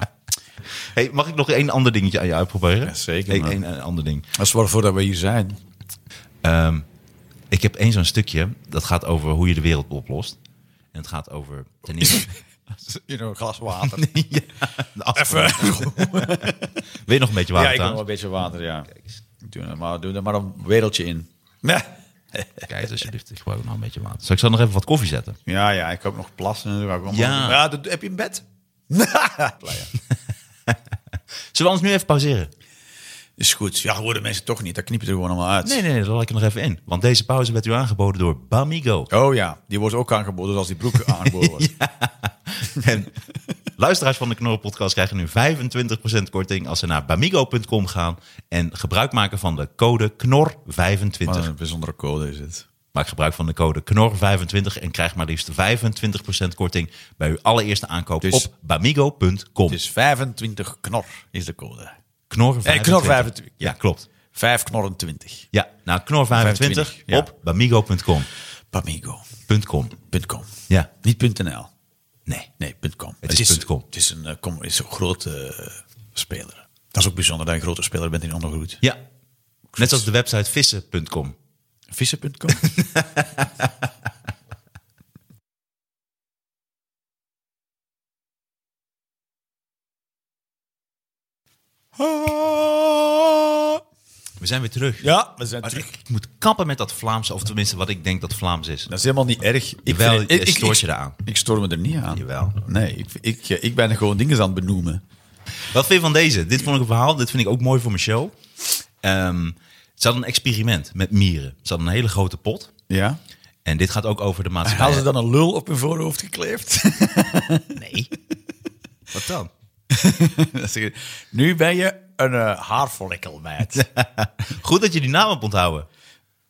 Speaker 3: Hey, mag ik nog één ander dingetje aan je uitproberen?
Speaker 2: Ja, zeker,
Speaker 3: Eén
Speaker 2: man.
Speaker 3: één, eh, ander ding.
Speaker 2: Dat is waarvoor dat we hier zijn.
Speaker 3: Ehm, ik heb één zo'n stukje. Dat gaat over hoe je de wereld oplost. En het gaat over... Ten eerste,
Speaker 2: In een glas water.
Speaker 3: ja, de afval. Wil je nog een beetje
Speaker 2: Ja,
Speaker 3: water
Speaker 2: ik wil nog
Speaker 3: trouwens?
Speaker 2: een beetje water, ja. Doe er maar, doe er maar een wereldje in.
Speaker 3: Kijk, alsjeblieft. Ik gebruik nog een beetje water. Zal ik zo nog even wat koffie zetten?
Speaker 2: Ja, ja, ik heb nog plassen. en zo. Ik wil
Speaker 3: Ja.
Speaker 2: maar- ja dat, heb je een bed?
Speaker 3: Zullen we ons nu even pauzeren?
Speaker 2: Is goed. Ja, horen mensen toch niet. Dat knip je er gewoon allemaal uit.
Speaker 3: Nee, nee, nee. Dat laat ik er nog even in. Want deze pauze werd u aangeboden door Bamigo.
Speaker 2: Oh ja, die wordt ook aangeboden als die broek aangeboden wordt.
Speaker 3: En luisteraars van de Knorrenpodcast krijgen nu 25% korting als ze naar bamigo.com gaan en gebruik maken van de code KNOR25.
Speaker 2: Wat een bijzondere code is het.
Speaker 3: Maak gebruik van de code KNOR25 en krijg maar liefst 25% korting bij uw allereerste aankoop
Speaker 2: Dus-
Speaker 3: op bamigo.com.
Speaker 2: Dus 25 knor is de code.
Speaker 3: KNOR25.
Speaker 2: Eh, KNOR25,
Speaker 3: Ja, klopt.
Speaker 2: 5 knorren 20.
Speaker 3: Ja, nou KNOR25
Speaker 2: ja.
Speaker 3: op bamigo.com.
Speaker 2: Pamigo.com.
Speaker 3: .com. Ja,
Speaker 2: Niet .nl.
Speaker 3: nee.
Speaker 2: Nee, .com. Het,
Speaker 3: is .com.
Speaker 2: Het is een, eh, com- is een grote eh, speler. Dat is ook bijzonder dat je een grote speler bent in ondergoed.
Speaker 3: Ja. Net zoals de website vissen.com.
Speaker 2: Vissen.com.
Speaker 3: We zijn weer terug.
Speaker 2: ja, we zijn
Speaker 3: Maar
Speaker 2: terug.
Speaker 3: Ik, ik moet kappen met dat Vlaams, of tenminste wat ik denk dat Vlaams is.
Speaker 2: Dat is helemaal niet erg. Ik
Speaker 3: Jawel,
Speaker 2: vind- ik-
Speaker 3: je
Speaker 2: ik-
Speaker 3: stoort
Speaker 2: ik-
Speaker 3: je eraan.
Speaker 2: Ik stoor me er niet aan.
Speaker 3: Jawel.
Speaker 2: Nee, ik, ik, ik ben gewoon dingen aan het benoemen.
Speaker 3: Wat vind je van deze? Dit vond ik een verhaal. Dit vind ik ook mooi voor mijn show. Ehm, ze hadden een experiment met mieren. Ze hadden een hele grote pot.
Speaker 2: Ja.
Speaker 3: En dit gaat ook over de maatschappij.
Speaker 2: Hadden ze dan een lul op hun voorhoofd gekleefd?
Speaker 3: Nee. Wat dan?
Speaker 2: Dan zeg je, nu ben je een eh haarfollikel, meid.
Speaker 3: Goed dat je die naam hebt onthouden.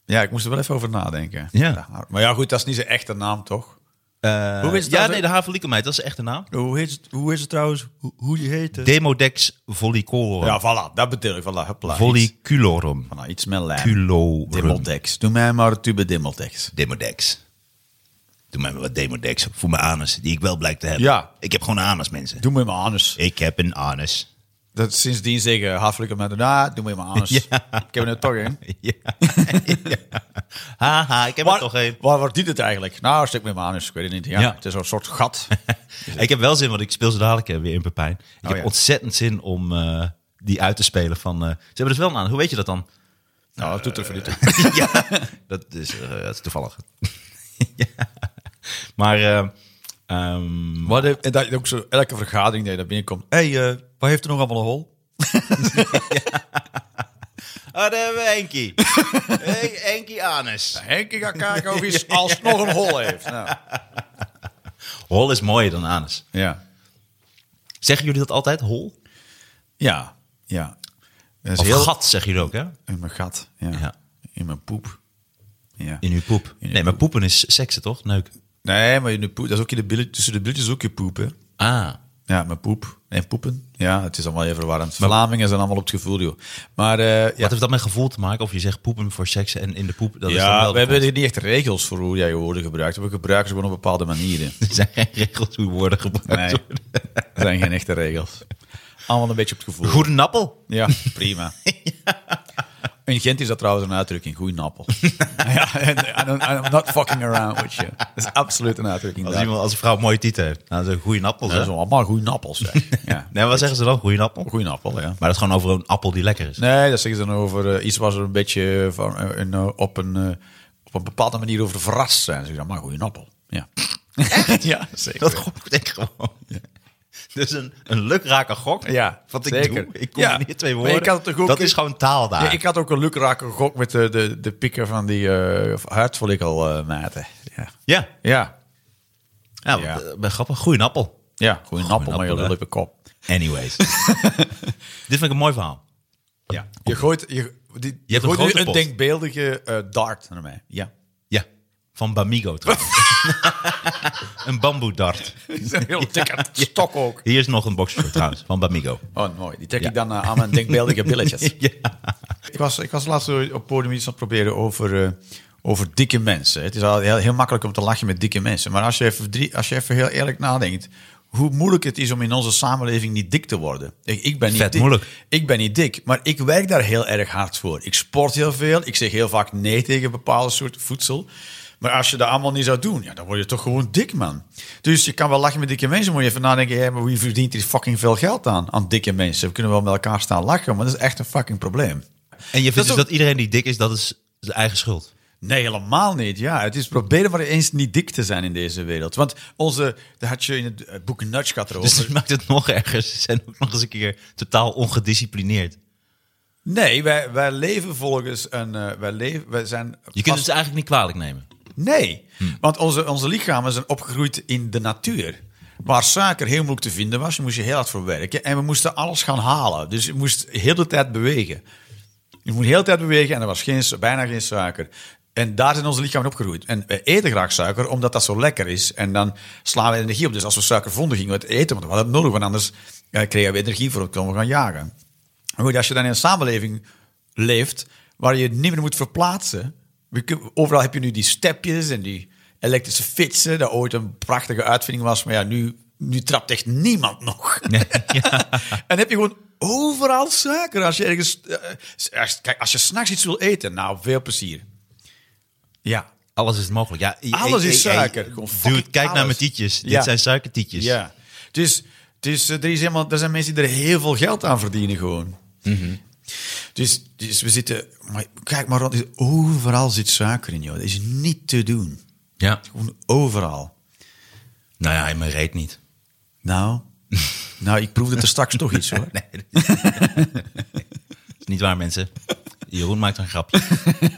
Speaker 2: ja, ik moest er wel even over nadenken.
Speaker 3: Ja.
Speaker 2: haar- Maar ja, goed, dat is niet zijn echte naam, toch? hoe, is het
Speaker 3: Eh, ja,
Speaker 2: trouwens-
Speaker 3: nee, de haveliekelmeid, dat is echt de naam.
Speaker 2: hoe, is het, hoe is het trouwens? Hoe, hoe die heet het?
Speaker 3: Demodex volliculorum.
Speaker 2: Ja, voilà, dat bedoel ik. Voilà, hupla, iets,
Speaker 3: Volliculorum.
Speaker 2: voilà, iets met lijm.
Speaker 3: Culorum.
Speaker 2: Dimmeldex. Doe mij maar een tube Dimmeldex.
Speaker 3: Demodex. Doe mij maar wat Demodex voor mijn anus, die ik wel blijk te hebben.
Speaker 2: Ja.
Speaker 3: Ik heb gewoon een anus, mensen.
Speaker 2: Doe me maar anus.
Speaker 3: Ik heb een anus.
Speaker 2: Dat sindsdien zeggen hafelijke mensen, nou, doe me maar anus. Ik heb er toch een.
Speaker 3: Ja. Haha, ik heb er toch een.
Speaker 2: waar wordt dit het eigenlijk? Nou, stik me maar anus. Ik weet het niet. Ja,
Speaker 3: Ja.
Speaker 2: Het is een soort gat.
Speaker 3: Ik heb wel zin, want ik speel ze dadelijk eh, weer in Pepijn. Ik
Speaker 2: Oh,
Speaker 3: heb
Speaker 2: ja.
Speaker 3: ontzettend zin om eh, die uit te spelen van... eh, ze hebben dus wel een aan. Hoe weet je dat dan?
Speaker 2: nou, dat doet er voor niet toe.
Speaker 3: ja, dat is, eh, dat is toevallig. Ja. Maar eh, ehm,
Speaker 2: Maar de- en dat je ook zo elke vergadering dat je daar binnenkomt. Hé, hey, eh, wat heeft er nog allemaal een hol?
Speaker 3: Ah, daar hebben we Henkie. Hey, Henkie Anus.
Speaker 2: Henk, ik ga kijken of hij alsnog een hol heeft. Nou.
Speaker 3: Hol is mooier dan Anus.
Speaker 2: Ja.
Speaker 3: Zeggen jullie dat altijd, hol?
Speaker 2: Ja. Ja. Dat is
Speaker 3: Of
Speaker 2: heel-
Speaker 3: gat zeggen jullie ook, hè?
Speaker 2: In mijn gat. Ja.
Speaker 3: Ja.
Speaker 2: In mijn poep. Ja.
Speaker 3: In uw poep.
Speaker 2: In uw
Speaker 3: nee, maar poepen is seksen, toch? Neuk.
Speaker 2: Nee, maar in de poep, dat is ook in de billen, tussen de billetjes ook je poep, hè.
Speaker 3: Ah.
Speaker 2: Ja, mijn poep. En poepen. Ja, het is allemaal even verwarrend. Vlamingen zijn allemaal op het gevoel, joh. Maar eh, ja,
Speaker 3: Wat heeft dat met gevoel te maken? Of je zegt poepen voor seksen en in de poep, dat is dan
Speaker 2: ja
Speaker 3: wel
Speaker 2: we
Speaker 3: de
Speaker 2: hebben
Speaker 3: pot.
Speaker 2: hier niet echt regels voor hoe jij je woorden gebruikt. We gebruiken ze gewoon op bepaalde manieren.
Speaker 3: Er zijn geen regels hoe woorden gebruikt
Speaker 2: Nee,
Speaker 3: worden.
Speaker 2: er zijn geen echte regels. Allemaal een beetje op het gevoel.
Speaker 3: Goede appel.
Speaker 2: Ja, prima. In Gent is dat trouwens een uitdrukking, goeie nappel. ja, en I don't- I'm not fucking around with you. Dat is absoluut een uitdrukking.
Speaker 3: Als,
Speaker 2: daar.
Speaker 3: iemand, als een vrouw een mooie titel heeft, nou, dat is een goede appel.
Speaker 2: Dat
Speaker 3: hè?
Speaker 2: is allemaal goeie nappel, zeg. Ja.
Speaker 3: Nee, wat zeggen ze dan? Goede appel?
Speaker 2: Goeie nappel, ja.
Speaker 3: Maar dat is gewoon over een appel die lekker is.
Speaker 2: Nee, dat zeggen ze dan over eh, iets waar ze een beetje van, eh, een, eh, op, een, eh, op een bepaalde manier over verrast zijn. Ze zeggen, maar goeie nappel. Ja. ja, zeker.
Speaker 3: Dat gok ik gewoon. Dus een, een lukraker gok.
Speaker 2: Ja,
Speaker 3: wat
Speaker 2: zeker.
Speaker 3: ik doe. Ik combineer
Speaker 2: Ja.
Speaker 3: twee
Speaker 2: Maar
Speaker 3: woorden.
Speaker 2: je kan het toch ook
Speaker 3: dat
Speaker 2: in-
Speaker 3: is gewoon taal daar.
Speaker 2: Ja, ik had ook een lukrake gok met de, de, de pikken van die eh huidfollikelmaten. ja.
Speaker 3: ja.
Speaker 2: ja,
Speaker 3: ja,
Speaker 2: Ja.
Speaker 3: want, eh, ben grappig. Goeie appel.
Speaker 2: Ja, gewoon een appel maar je
Speaker 3: appel, hè?
Speaker 2: lul op je kop.
Speaker 3: Anyways. Dit vind ik een mooi verhaal.
Speaker 2: Ja. Je gooit, je, die,
Speaker 3: Je hebt een
Speaker 2: gooit nu
Speaker 3: grote pot.
Speaker 2: denkbeeldige eh, dart naar mij. Ja.
Speaker 3: Ja. Van Bamigo trouwens. een bamboe dart.
Speaker 2: Een heel dikke stok ook.
Speaker 3: Hier is nog een box voor trouwens. Van Bamigo.
Speaker 2: Oh, mooi. Die trek
Speaker 3: Ja.
Speaker 2: ik dan eh, aan mijn denkbeeldige billetjes.
Speaker 3: Ja.
Speaker 2: ik, was, ik was laatst op het podium iets aan het proberen over, eh, over dikke mensen. Het is al heel, heel makkelijk om te lachen met dikke mensen. Maar als je, even drie, als je even heel eerlijk nadenkt... hoe moeilijk het is om in onze samenleving niet dik te worden. Ik, ik ben niet
Speaker 3: Vet
Speaker 2: dik.
Speaker 3: moeilijk.
Speaker 2: Ik ben niet dik, maar ik werk daar heel erg hard voor. Ik sport heel veel. Ik zeg heel vaak nee tegen bepaalde soorten voedsel. Maar als je dat allemaal niet zou doen, ja, dan word je toch gewoon dik, man. Dus je kan wel lachen met dikke mensen, maar je even nadenken... hé, maar wie verdient hier fucking veel geld aan, aan dikke mensen? We kunnen wel met elkaar staan lachen, maar dat is echt een fucking probleem.
Speaker 3: En je vindt
Speaker 2: Dat
Speaker 3: dus
Speaker 2: ook-
Speaker 3: dat iedereen die dik is, dat is zijn eigen schuld.
Speaker 2: Nee, helemaal niet. Ja, het is proberen maar eens niet dik te zijn in deze wereld. Want onze, daar had je in het eh, boek Nudge gaat erover.
Speaker 3: Dus dat maakt het nog erger. Ze zijn ook nog eens een keer totaal ongedisciplineerd.
Speaker 2: Nee, wij, wij leven volgens een, eh, wij leven, wij zijn.
Speaker 3: Je kunt Hm.
Speaker 2: vast-
Speaker 3: het ze eigenlijk niet kwalijk nemen.
Speaker 2: Nee, want onze, onze lichamen zijn opgegroeid in de natuur. Waar suiker heel moeilijk te vinden was, daar moest je heel hard voor werken. En we moesten alles gaan halen. Dus je moest heel de tijd bewegen. Je moet heel de tijd bewegen en er was geen, bijna geen suiker. En daar zijn onze lichamen opgegroeid. En we eten graag suiker, omdat dat zo lekker is. En dan slaan we energie op. Dus als we suiker vonden, gingen we het eten. Want we hadden het nodig, want anders eh, kregen we energie voor het komen gaan jagen. Maar goed, als je dan in een samenleving leeft waar je je niet meer moet verplaatsen. we kun- Overal heb je nu die stepjes en die elektrische fietsen. Dat ooit een prachtige uitvinding was. Maar ja, nu, nu trapt echt niemand nog. en heb je gewoon overal suiker. Als je ergens... eh, als, kijk, als je s'nachts iets wil eten, nou, veel plezier. Ja.
Speaker 3: Alles is mogelijk. Ja, i-
Speaker 2: Alles
Speaker 3: i-
Speaker 2: is
Speaker 3: i- i-
Speaker 2: suiker. Gewoon
Speaker 3: Dude,
Speaker 2: fucking
Speaker 3: kijk naar
Speaker 2: alles.
Speaker 3: mijn tietjes.
Speaker 2: Ja.
Speaker 3: Dit zijn suikertietjes.
Speaker 2: Ja. Dus, dus eh, er, is helemaal, er zijn mensen die er heel veel geld aan verdienen gewoon. Mhm. dus, dus we zitten... Maar kijk maar rond. Overal zit suiker in, joh. Dat is niet te doen.
Speaker 3: Ja.
Speaker 2: Gewoon overal.
Speaker 3: Nou ja, in mijn reet niet.
Speaker 2: Nou, nou ik proefde er straks toch iets, hoor.
Speaker 3: Nee. dat is niet waar, mensen. Jeroen maakt een grapje.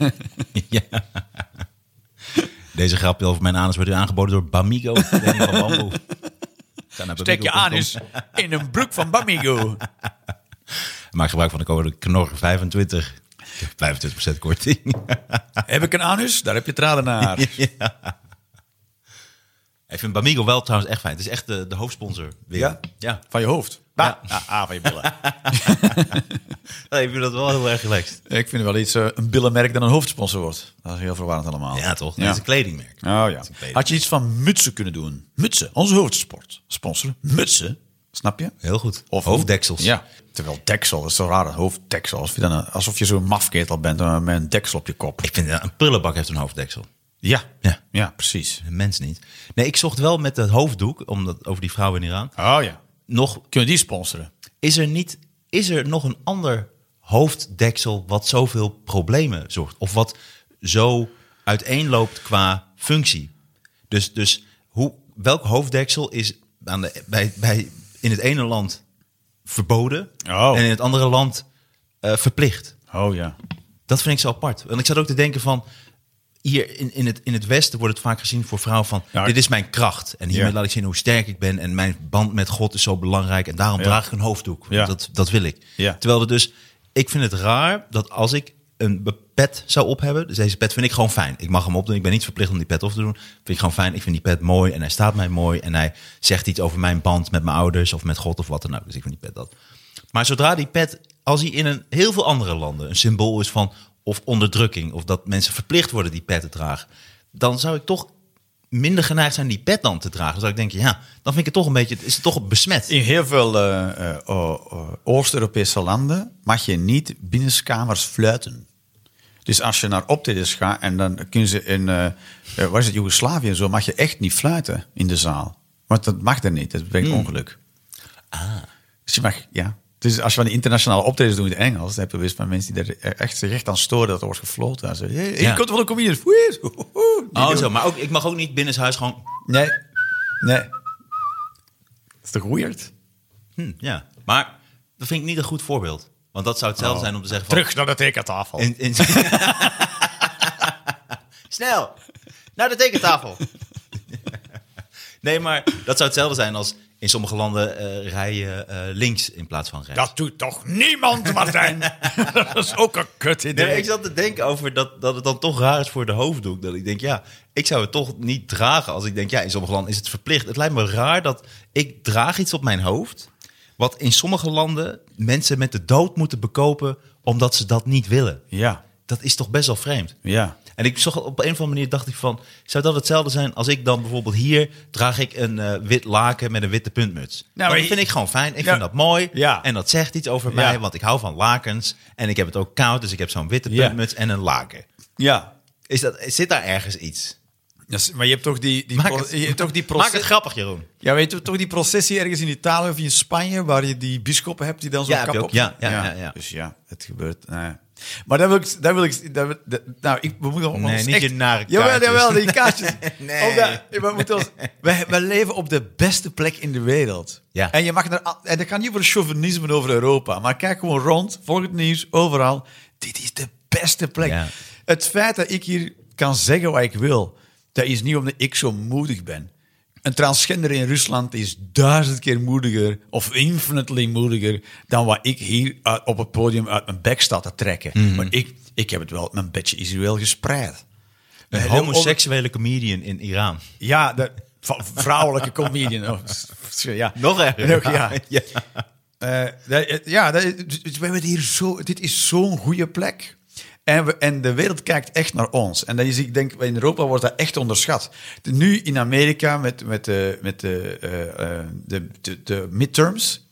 Speaker 3: ja. Deze grapje over mijn anus wordt u aangeboden door Bamigo. Kleding van bamboe. Ga naar
Speaker 2: Steek je
Speaker 3: bamigo.com.
Speaker 2: anus in een broek van Bamigo.
Speaker 3: Maak gebruik van de code KNOR25. 25% korting.
Speaker 2: heb ik een anus? Daar heb je traden naar.
Speaker 3: Ik vind Bamigo wel trouwens echt fijn. Het is echt de, de hoofdsponsor. Weer.
Speaker 2: Ja?
Speaker 3: Ja.
Speaker 2: Van je hoofd. Ja. Ah, van je billen.
Speaker 3: Ja, Ik vind dat wel heel erg relaxed.
Speaker 2: ik vind wel iets, eh, een billenmerk dat een hoofdsponsor wordt. Dat is heel verwarrend allemaal.
Speaker 3: Ja, toch? Het is een kledingmerk.
Speaker 2: Oh
Speaker 3: Het
Speaker 2: ja.
Speaker 3: is een kleding-
Speaker 2: Had je iets van mutsen kunnen doen? Mutsen, onze hoofdsport. Sponsor, mutsen. Snap je?
Speaker 3: Heel goed. hoofddeksels.
Speaker 2: Ja. Terwijl deksel, dat is zo raar, een hoofddeksel. Alsof je, dan een- alsof je zo'n mafketel bent eh, met een deksel op je kop.
Speaker 3: Ik vind ja, een prullenbak heeft een hoofddeksel.
Speaker 2: Ja.
Speaker 3: Ja.
Speaker 2: Ja, precies.
Speaker 3: Een mens niet. Nee, ik zocht wel met het hoofddoek, omdat, over die vrouw in Iran.
Speaker 2: Oh ja.
Speaker 3: Nog,
Speaker 2: Kunnen we die sponsoren?
Speaker 3: is er niet, is er nog een ander hoofddeksel wat zoveel problemen zorgt? Of wat zo uiteenloopt qua functie? Dus, dus hoe, welk hoofddeksel is aan de, bij, bij, in het ene land verboden
Speaker 2: Oh.
Speaker 3: en in het andere land eh, verplicht?
Speaker 2: Oh ja.
Speaker 3: Dat vind ik zo apart. Want ik zat ook te denken van... Hier in, in, het, in het Westen wordt het vaak gezien voor vrouwen van...
Speaker 2: Ja.
Speaker 3: dit is mijn kracht. En hiermee
Speaker 2: Ja.
Speaker 3: laat ik zien hoe sterk ik ben. En mijn band met God is zo belangrijk. En daarom draag ik een hoofddoek. want
Speaker 2: Ja.
Speaker 3: Dat, dat wil ik.
Speaker 2: Ja.
Speaker 3: Terwijl er dus... Ik vind het raar dat als ik een be- pet zou op hebben... Dus deze pet vind ik gewoon fijn. Ik mag hem opdoen. Ik ben niet verplicht om die pet op te doen. Vind ik gewoon fijn. Ik vind die pet mooi. En hij staat mij mooi. En hij zegt iets over mijn band met mijn ouders. Of met God of wat dan ook. Dus ik vind die pet dat. Maar zodra die pet, als hij in een, heel veel andere landen een symbool is van of onderdrukking, of dat mensen verplicht worden die pet te dragen, dan zou ik toch minder geneigd zijn die pet dan te dragen. Dan zou ik denken, ja, dan vind ik het toch een beetje, is het toch besmet.
Speaker 2: In heel veel eh, eh, o- o- Oost-Europese landen mag je niet binnenskamers fluiten. Dus als je naar optredens gaat en dan kunnen ze in, eh, eh, waar is het, Joegoslavië en zo, mag je echt niet fluiten in de zaal. Want dat mag er niet, dat brengt ongeluk. Dus je mag, ja. Dus als je van die internationale optredens doet in het Engels, dan heb je best van mensen die er echt, zich echt aan storen dat er wordt gefloten. Dan zeggen ze, hey,
Speaker 3: Ja.
Speaker 2: je komt wel een comedian. Woehoe, woehoe.
Speaker 3: Oh, zo, maar ook, ik mag ook niet binnenshuis gewoon,
Speaker 2: Nee, nee. Dat is toch weird?
Speaker 3: hm, ja. Maar dat vind ik niet een goed voorbeeld. Want dat zou hetzelfde zijn om te zeggen van...
Speaker 2: Terug naar de tekentafel.
Speaker 3: In, in- Snel, naar de tekentafel. nee, maar dat zou hetzelfde zijn als in sommige landen eh rij je eh, links in plaats van rechts.
Speaker 2: Dat doet toch niemand, Martijn? dat is ook een kut idee.
Speaker 3: Nee, ik zat te denken over dat, dat het dan toch raar is voor de hoofddoek. Dat ik denk, ja, ik zou het toch niet dragen als ik denk, ja, in sommige landen is het verplicht. Het lijkt me raar dat ik draag iets op mijn hoofd, wat in sommige landen mensen met de dood moeten bekopen omdat ze dat niet willen.
Speaker 2: Ja,
Speaker 3: Dat is toch best wel vreemd.
Speaker 2: ja.
Speaker 3: En ik zag op een of andere manier, dacht ik van, zou dat hetzelfde zijn als ik dan bijvoorbeeld hier draag ik een eh, wit laken met een witte puntmuts?
Speaker 2: Nou, maar
Speaker 3: dat
Speaker 2: je-
Speaker 3: vind ik gewoon fijn. Ik
Speaker 2: Ja.
Speaker 3: vind dat mooi.
Speaker 2: Ja.
Speaker 3: En dat zegt iets over
Speaker 2: Ja.
Speaker 3: mij, want ik hou van lakens. En ik heb het ook koud, dus ik heb zo'n witte
Speaker 2: Ja.
Speaker 3: puntmuts en een laken.
Speaker 2: Ja.
Speaker 3: Is dat, zit daar ergens iets?
Speaker 2: Dat is- maar je hebt toch die, die,
Speaker 3: Maak
Speaker 2: pro-
Speaker 3: het-
Speaker 2: je hebt toch die
Speaker 3: Maak het
Speaker 2: processie.
Speaker 3: grappig, Jeroen.
Speaker 2: Ja, weet je toch die processie ergens in Italië of in Spanje waar je die bisschoppen hebt die dan zo'n
Speaker 3: Ja, heb
Speaker 2: kap
Speaker 3: je ook.
Speaker 2: op.
Speaker 3: Ja, ja, ja, ja.
Speaker 2: Dus ja, het gebeurt. Nou ja. Maar daar wil ik, daar wil ik, daar wil- dat- nou, ik, we moeten
Speaker 3: Nee,
Speaker 2: ons
Speaker 3: niet
Speaker 2: echt,
Speaker 3: je nare
Speaker 2: Jawel,
Speaker 3: kaartjes.
Speaker 2: jawel, die kaartjes.
Speaker 3: Nee.
Speaker 2: Omdat- we moeten ons, wij, wij leven op de beste plek in de wereld.
Speaker 3: Ja.
Speaker 2: En je mag naar, al- en dat gaat niet voor chauvinisme over Europa, maar kijk gewoon rond, volg het nieuws, overal. Dit is de beste plek.
Speaker 3: Ja.
Speaker 2: Het feit dat ik hier kan zeggen wat ik wil, dat is niet omdat ik zo moedig ben. Een transgender in Rusland is duizend keer moediger of infinitely moediger dan wat ik hier uit- op het podium uit mijn bek sta te trekken.
Speaker 3: Mhm.
Speaker 2: Maar ik, ik heb het wel, mijn bedje is hier wel gespreid.
Speaker 3: Een
Speaker 2: Eh,
Speaker 3: homoseksuele comedian in Iran.
Speaker 2: Ja, de v- vrouwelijke comedian. Oh, ja.
Speaker 3: Nog
Speaker 2: En
Speaker 3: erger.
Speaker 2: ook, ja.
Speaker 3: Ja.
Speaker 2: Eh, dat- het- ja, dat- dus we hebben hier zo, dit is zo'n goede plek. En, we, en de wereld kijkt echt naar ons. En dat is, ik denk, in Europa wordt dat echt onderschat. De- Nu in Amerika met, met, de, met de, eh, eh, de, de, de midterms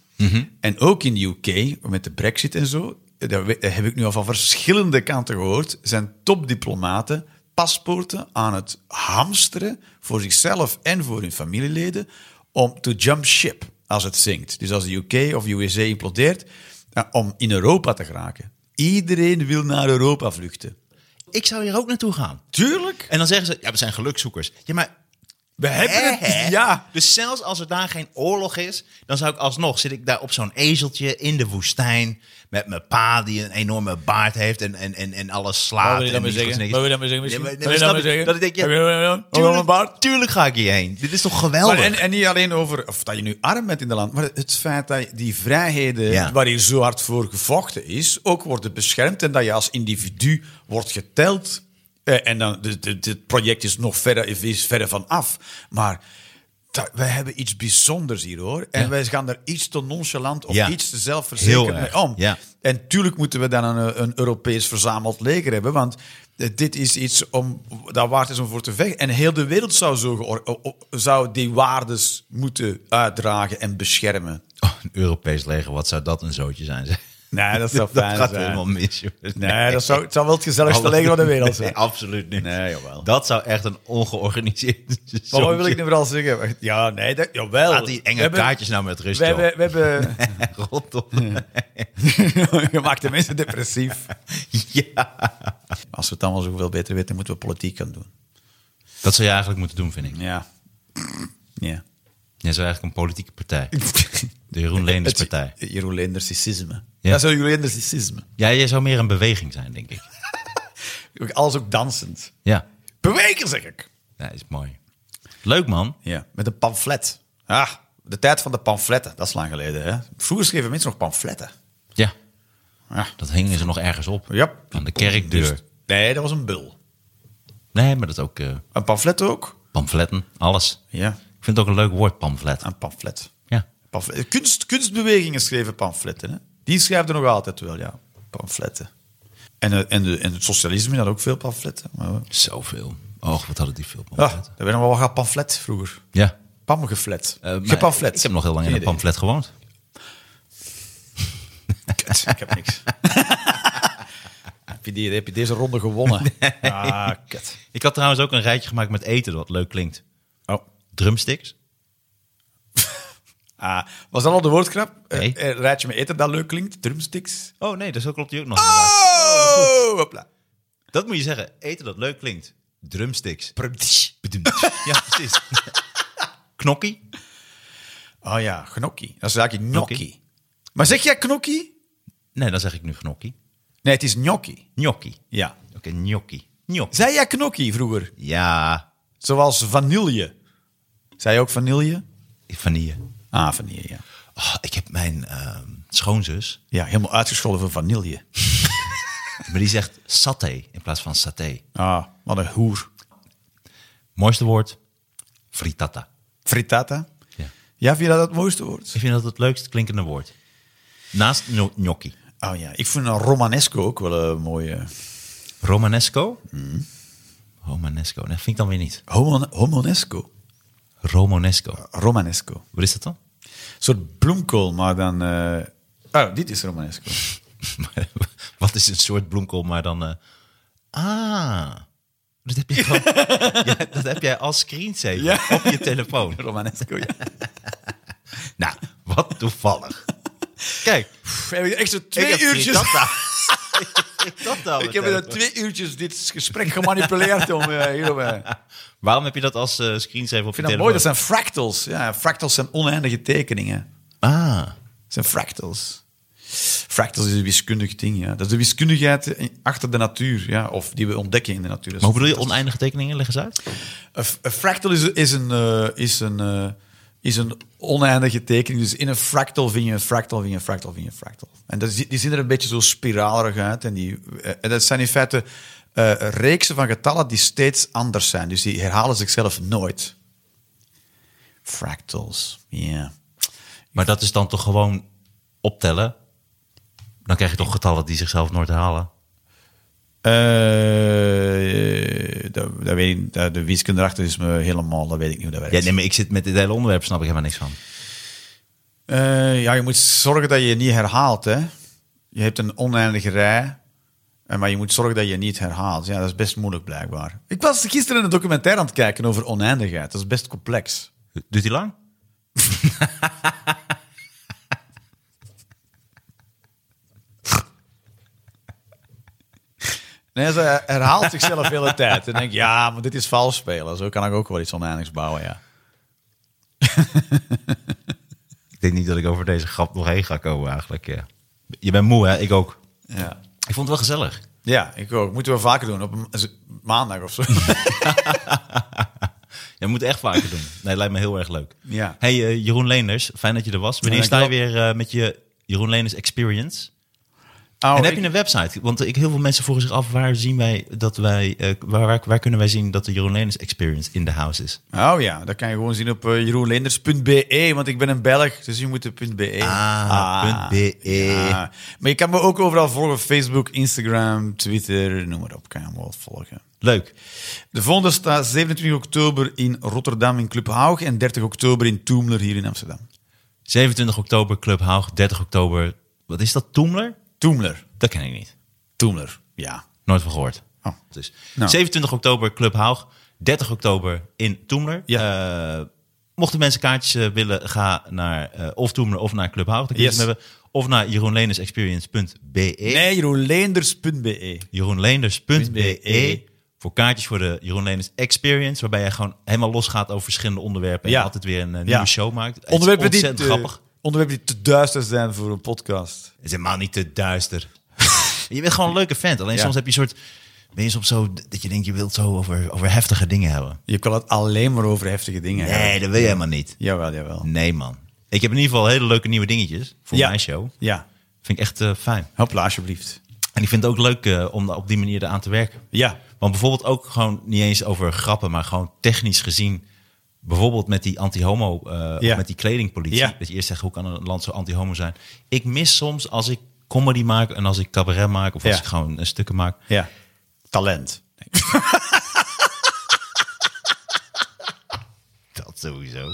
Speaker 2: En ook in de UK, met de brexit en zo, daar we- daar heb ik nu al van verschillende kanten gehoord, zijn topdiplomaten paspoorten aan het hamsteren voor zichzelf en voor hun familieleden om to jump ship als het zinkt. Dus als de UK of USA implodeert, eh, om in Europa te geraken. Iedereen wil naar Europa vluchten.
Speaker 3: Ik zou hier ook naartoe gaan.
Speaker 2: Tuurlijk.
Speaker 3: En dan zeggen ze, ja, we zijn gelukzoekers. Ja, maar...
Speaker 2: We hebben
Speaker 3: hè, hè?
Speaker 2: het. Ja.
Speaker 3: Dus zelfs als er daar geen oorlog is, dan zou ik alsnog... zit ik daar op zo'n ezeltje in de woestijn... met mijn pa die een enorme baard heeft en, en, en, en alles slaat. en die goed niks-
Speaker 2: je dat maar zeggen?
Speaker 3: Ja, maar- maar snap ik- Dat ik denk, ja, tuurlijk, tuurlijk ga ik hierheen. Dit is toch geweldig?
Speaker 2: Maar en, en niet alleen over of dat je nu arm bent in de land, maar het feit dat je die vrijheden
Speaker 3: Ja.
Speaker 2: waar hier zo hard voor gevochten is, ook worden beschermd en dat je als individu wordt geteld. Eh, en dan, de- de- dit project is nog verder, is verder van af. Maar dat- wij hebben iets bijzonders hier hoor. En wij gaan er iets te nonchalant of
Speaker 3: Ja.
Speaker 2: iets te
Speaker 3: Heel
Speaker 2: zelfverzekerd
Speaker 3: erg,
Speaker 2: mee om.
Speaker 3: ja.
Speaker 2: En tuurlijk moeten we dan een, een Europees verzameld leger hebben, want eh, dit is iets om, dat waard is om voor te vechten. En heel de wereld zou, zo geor- o- o- zou die waardes moeten uitdragen en beschermen.
Speaker 3: Oh, een Europees leger, wat zou dat een zootje zijn? zeg.
Speaker 2: Nee, dat zou
Speaker 3: dat
Speaker 2: fijn
Speaker 3: gaat
Speaker 2: zijn.
Speaker 3: helemaal mis. joh.
Speaker 2: Nee, dat zou, het zou wel het gezelligste leger van de wereld zijn.
Speaker 3: Nee, absoluut niet.
Speaker 2: Nee, jawel.
Speaker 3: Dat zou echt een ongeorganiseerd
Speaker 2: Maar
Speaker 3: zootje-
Speaker 2: wat wil ik nu vooral zeggen? Wacht, Ja, nee, dat, jawel.
Speaker 3: Laat die enge
Speaker 2: We hebben-
Speaker 3: kaartjes nou met rust,
Speaker 2: We
Speaker 3: joh.
Speaker 2: hebben, we hebben...
Speaker 3: Rot op.
Speaker 2: Je maakt de mensen depressief.
Speaker 3: Ja.
Speaker 2: Als we het allemaal zoveel beter weten, moeten we politiek gaan doen.
Speaker 3: Dat zou je eigenlijk moeten doen, vind ik.
Speaker 2: Ja. Ja.
Speaker 3: Jij zou eigenlijk een politieke partij. De Jeroen Leenders partij.
Speaker 2: Het Jeroen Leendersisme.
Speaker 3: Ja.
Speaker 2: Dat is een Jeroen Leendersisme.
Speaker 3: Ja, jij zou meer een beweging zijn, denk ik.
Speaker 2: Alles ook dansend.
Speaker 3: Ja,
Speaker 2: Bewegen, zeg ik.
Speaker 3: dat is mooi. Leuk, man.
Speaker 2: Ja, met een pamflet. Ah, de tijd van de pamfletten. Dat is lang geleden, hè? Vroeger schreven mensen nog pamfletten.
Speaker 3: Ja,
Speaker 2: Ja.
Speaker 3: dat hingen ze nog ergens op.
Speaker 2: Ja.
Speaker 3: Aan de kerkdeur.
Speaker 2: Nee, dat was een bul.
Speaker 3: Nee, maar dat ook eh,
Speaker 2: Een pamflet ook?
Speaker 3: pamfletten, alles.
Speaker 2: Ja,
Speaker 3: Ik vind het ook een leuk woord, pamflet.
Speaker 2: een pamflet.
Speaker 3: Ja.
Speaker 2: Pamflet- Kunst, kunstbewegingen schreven pamfletten. Hè? Die schrijven nog altijd wel, ja. Pamfletten. En, eh, en, de, en het socialisme had ook veel pamfletten. Maar, eh,
Speaker 3: Zoveel. Och, wat hadden die veel
Speaker 2: ah,
Speaker 3: pamfletten.
Speaker 2: daar werd nog wel wat pamflet vroeger.
Speaker 3: Ja.
Speaker 2: Pamgeflet.
Speaker 3: Eh, maar
Speaker 2: Gepamflet.
Speaker 3: Ik heb nog heel lang in een
Speaker 2: Geen idee.
Speaker 3: pamflet gewoond.
Speaker 2: Kut, ik heb niks. heb, je die- heb je deze ronde gewonnen? Ah, kut.
Speaker 3: Ik had trouwens ook een rijtje gemaakt met eten, wat leuk klinkt.
Speaker 2: Oh.
Speaker 3: Drumsticks.
Speaker 2: Ah, was dat al de woordgrap?
Speaker 3: Nee.
Speaker 2: Eh, eh, raad je me eten dat leuk klinkt? Drumsticks?
Speaker 3: Oh nee, dat klopt die ook nog.
Speaker 2: Oh! Hopla.
Speaker 3: Dat moet je zeggen. Eten dat leuk klinkt. Drumsticks. Ja, precies. Knokkie?
Speaker 2: Oh ja, gnocchi. Dat is eigenlijk gnocchi. Maar zeg jij gnocchi?
Speaker 3: Nee, dan zeg ik nu gnokkie.
Speaker 2: Nee, het is gnocchi.
Speaker 3: Gnocchi.
Speaker 2: Ja.
Speaker 3: Oké, gnocchi. Gnocchi.
Speaker 2: Zei jij gnocchi vroeger?
Speaker 3: Ja,
Speaker 2: Zoals vanille. Zei je ook vanille?
Speaker 3: vanille.
Speaker 2: Ah, vanille, ja.
Speaker 3: Oh, ik heb mijn ehm, schoonzus,
Speaker 2: Ja, helemaal uitgescholden voor vanille.
Speaker 3: maar die zegt saté in plaats van saté.
Speaker 2: Ah, wat een hoer.
Speaker 3: Mooiste woord? Frittata.
Speaker 2: Frittata?
Speaker 3: Ja.
Speaker 2: Ja, vind je dat het mooiste woord?
Speaker 3: Ik vind dat het leukst klinkende woord. Naast gno- gnocchi.
Speaker 2: Oh ja, ik vind een romanesco ook wel een mooie.
Speaker 3: Romanesco? Romanesco. Nee, vind ik dan weer niet.
Speaker 2: Homo- homonesco.
Speaker 3: Romanesco.
Speaker 2: Romanesco.
Speaker 3: Wat is dat dan?
Speaker 2: Een soort bloemkool, maar dan... eh, Oh, dit is romanesco.
Speaker 3: Wat is een soort bloemkool, maar dan... eh, Ah, dat heb, je gewoon, ja, dat heb jij als screensaver op je telefoon.
Speaker 2: romanesco, ja.
Speaker 3: Nou, wat toevallig. Kijk,
Speaker 2: We hebben hier echt zo twee
Speaker 3: ik heb
Speaker 2: uurtjes...
Speaker 3: frittata. ik heb dat al
Speaker 2: Ik heb er twee uurtjes dit gesprek gemanipuleerd om eh, hierop... eh. Ik
Speaker 3: Waarom heb je dat als eh, screensaver op je
Speaker 2: vind dat
Speaker 3: telefoon?
Speaker 2: mooi, dat zijn fractals. Ja, fractals zijn oneindige tekeningen.
Speaker 3: Ah,
Speaker 2: Dat zijn fractals. Fractals is een wiskundig ding, ja. Dat is de wiskundigheid in- achter de natuur, ja. Of die we ontdekken in de natuur.
Speaker 3: maar hoe bedoel je oneindige tekeningen? Leg eens uit.
Speaker 2: Een f- een fractal is, is, een, eh, is, een, eh, is een oneindige tekening. Dus in een fractal vind je een fractal, vind je een fractal, vind je een fractal. En dat, zi- die zien er een beetje zo spiralerig uit. En, die, eh, en dat zijn in feite eh, reeksen van getallen die steeds anders zijn. Dus die herhalen zichzelf nooit. Fractals, ja.
Speaker 3: Maar dat is dan toch gewoon optellen? Dan krijg je toch getallen die zichzelf nooit halen?
Speaker 2: Eh, dat, dat weet ik, dat- de wiskunde erachter is me helemaal, dat weet ik niet hoe dat werkt.
Speaker 3: Ja, nee, maar ik zit met dit hele onderwerp, snap ik helemaal niks van.
Speaker 2: Eh, ja, je moet zorgen dat je je niet herhaalt. Hè? Je hebt een oneindige rij, eh, maar je moet zorgen dat je niet herhaalt. Ja, dat is best moeilijk blijkbaar. Ik was gisteren een documentaire aan het kijken over oneindigheid. Dat is best complex.
Speaker 3: Duurt die lang?
Speaker 2: Nee, ze herhaalt zichzelf de hele tijd. En denk ik, ja, maar dit is vals spelen. Zo kan ik ook wel iets oneindigs bouwen, ja.
Speaker 3: Ik denk niet dat ik over deze grap nog heen ga komen eigenlijk. ja. Je bent moe, hè? Ik ook.
Speaker 2: Ja,
Speaker 3: Ik vond het wel gezellig.
Speaker 2: ja ik ook. Moeten we vaker doen, op een maandag of zo. Oh,
Speaker 3: Je moet het echt vaker doen. Nee, lijkt me heel erg leuk.
Speaker 2: Ja.
Speaker 3: Hey eh, Jeroen Leenders, fijn dat je er was. Wanneer
Speaker 2: Ja,
Speaker 3: sta je weer
Speaker 2: dankjewel.
Speaker 3: eh, met je Jeroen Leenders Experience?
Speaker 2: Oh,
Speaker 3: en heb
Speaker 2: ik-
Speaker 3: je een website? Want eh, ik, heel veel mensen vroegen zich af waar zien wij dat wij eh, waar, waar, waar kunnen wij zien dat de Jeroen Leenders Experience in de house is?
Speaker 2: Oh ja, dat kan je gewoon zien op eh, jeroenlenders.be, E, want ik ben een Belg, dus je moet de .be.
Speaker 3: Ah, .be.
Speaker 2: Ah, Ja. Maar je kan me ook overal volgen, Facebook, Instagram, Twitter, noem maar op, kan je me wel volgen.
Speaker 3: Leuk.
Speaker 2: De volgende staat 27 oktober in Rotterdam in Club Haug en 30 oktober in Toemler hier in Amsterdam.
Speaker 3: 27 oktober Club Haug, 30 oktober. Wat is dat? Toemler?
Speaker 2: Toemler,
Speaker 3: Dat ken ik niet.
Speaker 2: Toemler, ja.
Speaker 3: Nooit van gehoord.
Speaker 2: Oh.
Speaker 3: Dus
Speaker 2: Nou.
Speaker 3: 27 oktober Club Haug, 30 oktober in Toemler. Eh, mochten mensen kaartjes eh, willen, ga naar eh, of Toemler of naar Club Haug. Dan kun je
Speaker 2: Yes.
Speaker 3: ze hebben. Of naar jeroenlenersexperience.be.
Speaker 2: Nee, jeroenlenders.be.
Speaker 3: jeroenleenders.be voor kaartjes voor de Jeroen Leenders Experience, waarbij jij gewoon helemaal losgaat over verschillende onderwerpen en
Speaker 2: Ja.
Speaker 3: altijd weer een eh,
Speaker 2: Ja.
Speaker 3: nieuwe show maakt. Het is
Speaker 2: Onderwerpen die,
Speaker 3: ontzettend
Speaker 2: te,
Speaker 3: grappig.
Speaker 2: onderwerpen die te duister zijn voor een podcast.
Speaker 3: Het is helemaal niet te duister. je bent gewoon een leuke vent. Alleen
Speaker 2: Ja.
Speaker 3: soms heb je een soort. Ben je soms zo dat je denkt, je wilt zo over, over heftige dingen hebben.
Speaker 2: Je kan het alleen maar over heftige dingen hebben.
Speaker 3: Nee, dat wil je helemaal niet.
Speaker 2: Jawel, jawel.
Speaker 3: Nee, man. Ik heb in ieder geval hele leuke nieuwe dingetjes voor
Speaker 2: Ja.
Speaker 3: mijn show.
Speaker 2: Ja,
Speaker 3: Vind ik echt eh, fijn.
Speaker 2: hopla, alsjeblieft.
Speaker 3: En ik vind het ook leuk eh, om daar op die manier aan te werken.
Speaker 2: Ja.
Speaker 3: Want bijvoorbeeld ook gewoon niet eens over grappen, maar gewoon technisch gezien. Bijvoorbeeld met die anti-homo, eh,
Speaker 2: Ja.
Speaker 3: of met die kledingpolitie.
Speaker 2: Ja.
Speaker 3: Dat je eerst zegt, hoe kan een land zo anti-homo zijn? Ik mis soms als ik comedy maak en als ik cabaret maak... of als
Speaker 2: Ja.
Speaker 3: ik gewoon eh, stukken maak.
Speaker 2: Ja. Talent.
Speaker 3: Dat sowieso.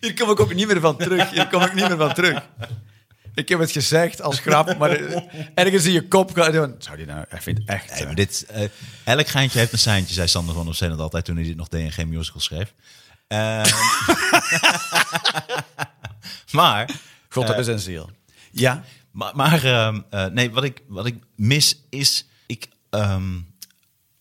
Speaker 2: Hier kom ik ook niet meer van terug. Hier kom ik niet meer van terug. Ik heb het gezegd als grap, maar eh, ergens in je kop gaat... doen. Zou die nou... Ik vind het echt...
Speaker 3: Nee,
Speaker 2: eh,
Speaker 3: maar dit, eh, elk geintje heeft een seintje, zei Sander van Opzijn dat altijd... toen hij dit nog DNG Musical schreef. Ehm. maar
Speaker 2: God hebben zijn ziel. Ja.
Speaker 3: Maar, maar ehm, eh, nee, wat ik, wat ik mis is, ik ehm,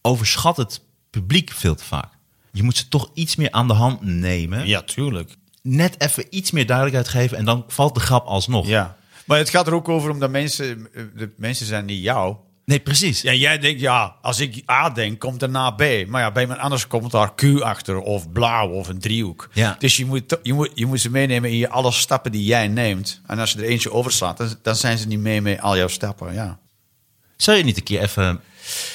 Speaker 3: overschat het publiek veel te vaak. Je moet ze toch iets meer aan de hand nemen.
Speaker 2: Ja, tuurlijk.
Speaker 3: Net even iets meer duidelijkheid geven en dan valt de grap alsnog.
Speaker 2: Ja. Maar het gaat er ook over omdat mensen... eh, De mensen zijn niet jou.
Speaker 3: Nee, precies.
Speaker 2: Ja, jij denkt, ja, als ik A denk, komt daarna B. Maar ja, bij iemand anders komt daar Q achter of blauw of een driehoek.
Speaker 3: Ja.
Speaker 2: Dus je moet, to- je, moet, je moet ze meenemen in je alle stappen die jij neemt. En als je er eentje overslaat, dan, dan zijn ze niet mee met al jouw stappen, ja.
Speaker 3: Zou je niet een keer even,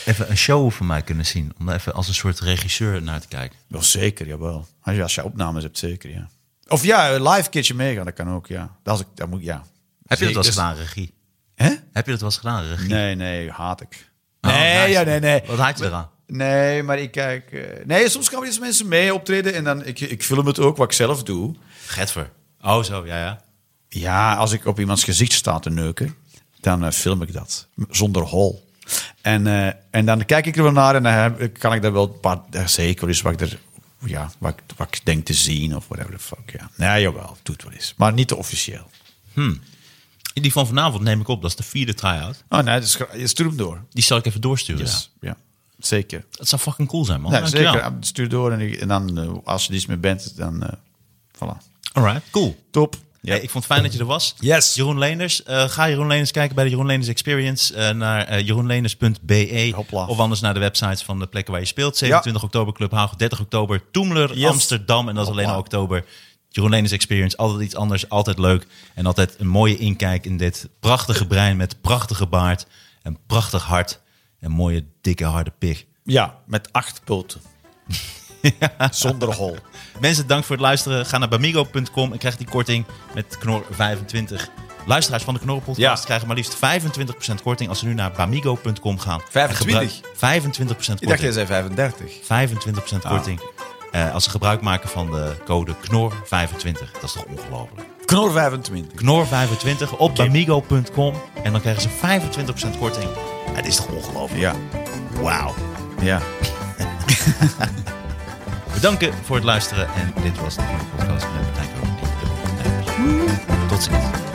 Speaker 3: even een show van mij kunnen zien? Om daar even als een soort regisseur naar te kijken.
Speaker 2: Wel zeker, jawel. Als je, als je opnames hebt, zeker, ja. Of ja, een live keertje meegaan, dat kan ook, ja. Dat, is, dat moet, ja.
Speaker 3: Heb je dat wel eens
Speaker 2: Dus-
Speaker 3: gedaan, regie?
Speaker 2: Hè?
Speaker 3: Heb je dat wel eens gedaan, regie?
Speaker 2: Nee, nee, haat ik.
Speaker 3: Oh,
Speaker 2: Nee,
Speaker 3: nice.
Speaker 2: ja, nee, nee.
Speaker 3: Wat haat je eraan?
Speaker 2: Nee, maar ik kijk... eh, nee, soms gaan we eens mensen mee optreden en dan... Ik, ik film het ook, wat ik zelf doe.
Speaker 3: Getver. Oh, zo, ja, ja.
Speaker 2: Ja, als ik op iemands gezicht sta te neuken, dan eh, film ik dat. M- Zonder hol. En, eh, en dan kijk ik er wel naar en dan heb- kan ik daar wel een paar... eh, Zeker is wat ik, er, ja, wat, ik- wat ik denk te zien of whatever the fuck. Ja, nee, jawel, doet wel eens. Maar niet te officieel.
Speaker 3: Die van vanavond neem ik op. Dat is de vierde try-out.
Speaker 2: Oh nee, dus, je stuurt hem door.
Speaker 3: Die zal ik even doorsturen.
Speaker 2: Dus, ja. zeker.
Speaker 3: Dat zou fucking cool zijn, man.
Speaker 2: Nee,
Speaker 3: Dankjewel.
Speaker 2: zeker. Ah, Stuur door en, ik- en dan, eh, als je er iets mee bent, dan... eh, voilà.
Speaker 3: Alright, cool.
Speaker 2: Top. Ja.
Speaker 3: Hey, ik vond het fijn dat je er was.
Speaker 2: Yes.
Speaker 3: Jeroen Leenders. eh, ga Jeroen Leenders kijken bij de Jeroen Leenders Experience. eh, naar eh, jeroenleenders.be.
Speaker 2: Hopla.
Speaker 3: Of anders naar de websites van de plekken waar je speelt. 27 oktober Club Haag, 30 oktober Toemler,
Speaker 2: Yes.
Speaker 3: Amsterdam. En dat is alleen
Speaker 2: Hopla.
Speaker 3: al oktober. Jeroen Leenders Experience. Altijd iets anders, altijd leuk. En altijd een mooie inkijk in dit prachtige brein met prachtige baard. En prachtig hart. En mooie, dikke, harde pik.
Speaker 2: ja, met acht poten. Zonder hol.
Speaker 3: Mensen, dank voor het luisteren. Ga naar bamigo.com en krijg die korting met Knor25. Luisteraars van de Knorrenpodcast
Speaker 2: Ja.
Speaker 3: krijgen maar liefst 25% korting als ze nu naar bamigo.com gaan.
Speaker 2: 25?
Speaker 3: En gebruik- 25%
Speaker 2: Ik dacht, Ah.
Speaker 3: korting.
Speaker 2: jij zei 35.
Speaker 3: 25% korting. eh, als ze gebruik maken van de code KNOR25. Dat is toch ongelooflijk?
Speaker 2: Knor 25.
Speaker 3: KNOR25 op bamigo.com. En dan krijgen ze 25% korting. Het is toch ongelooflijk?
Speaker 2: Ja,
Speaker 3: Wauw.
Speaker 2: ja.
Speaker 3: Bedanken voor het luisteren. En dit was de podcast met Tijko en Jeroen. Tot ziens.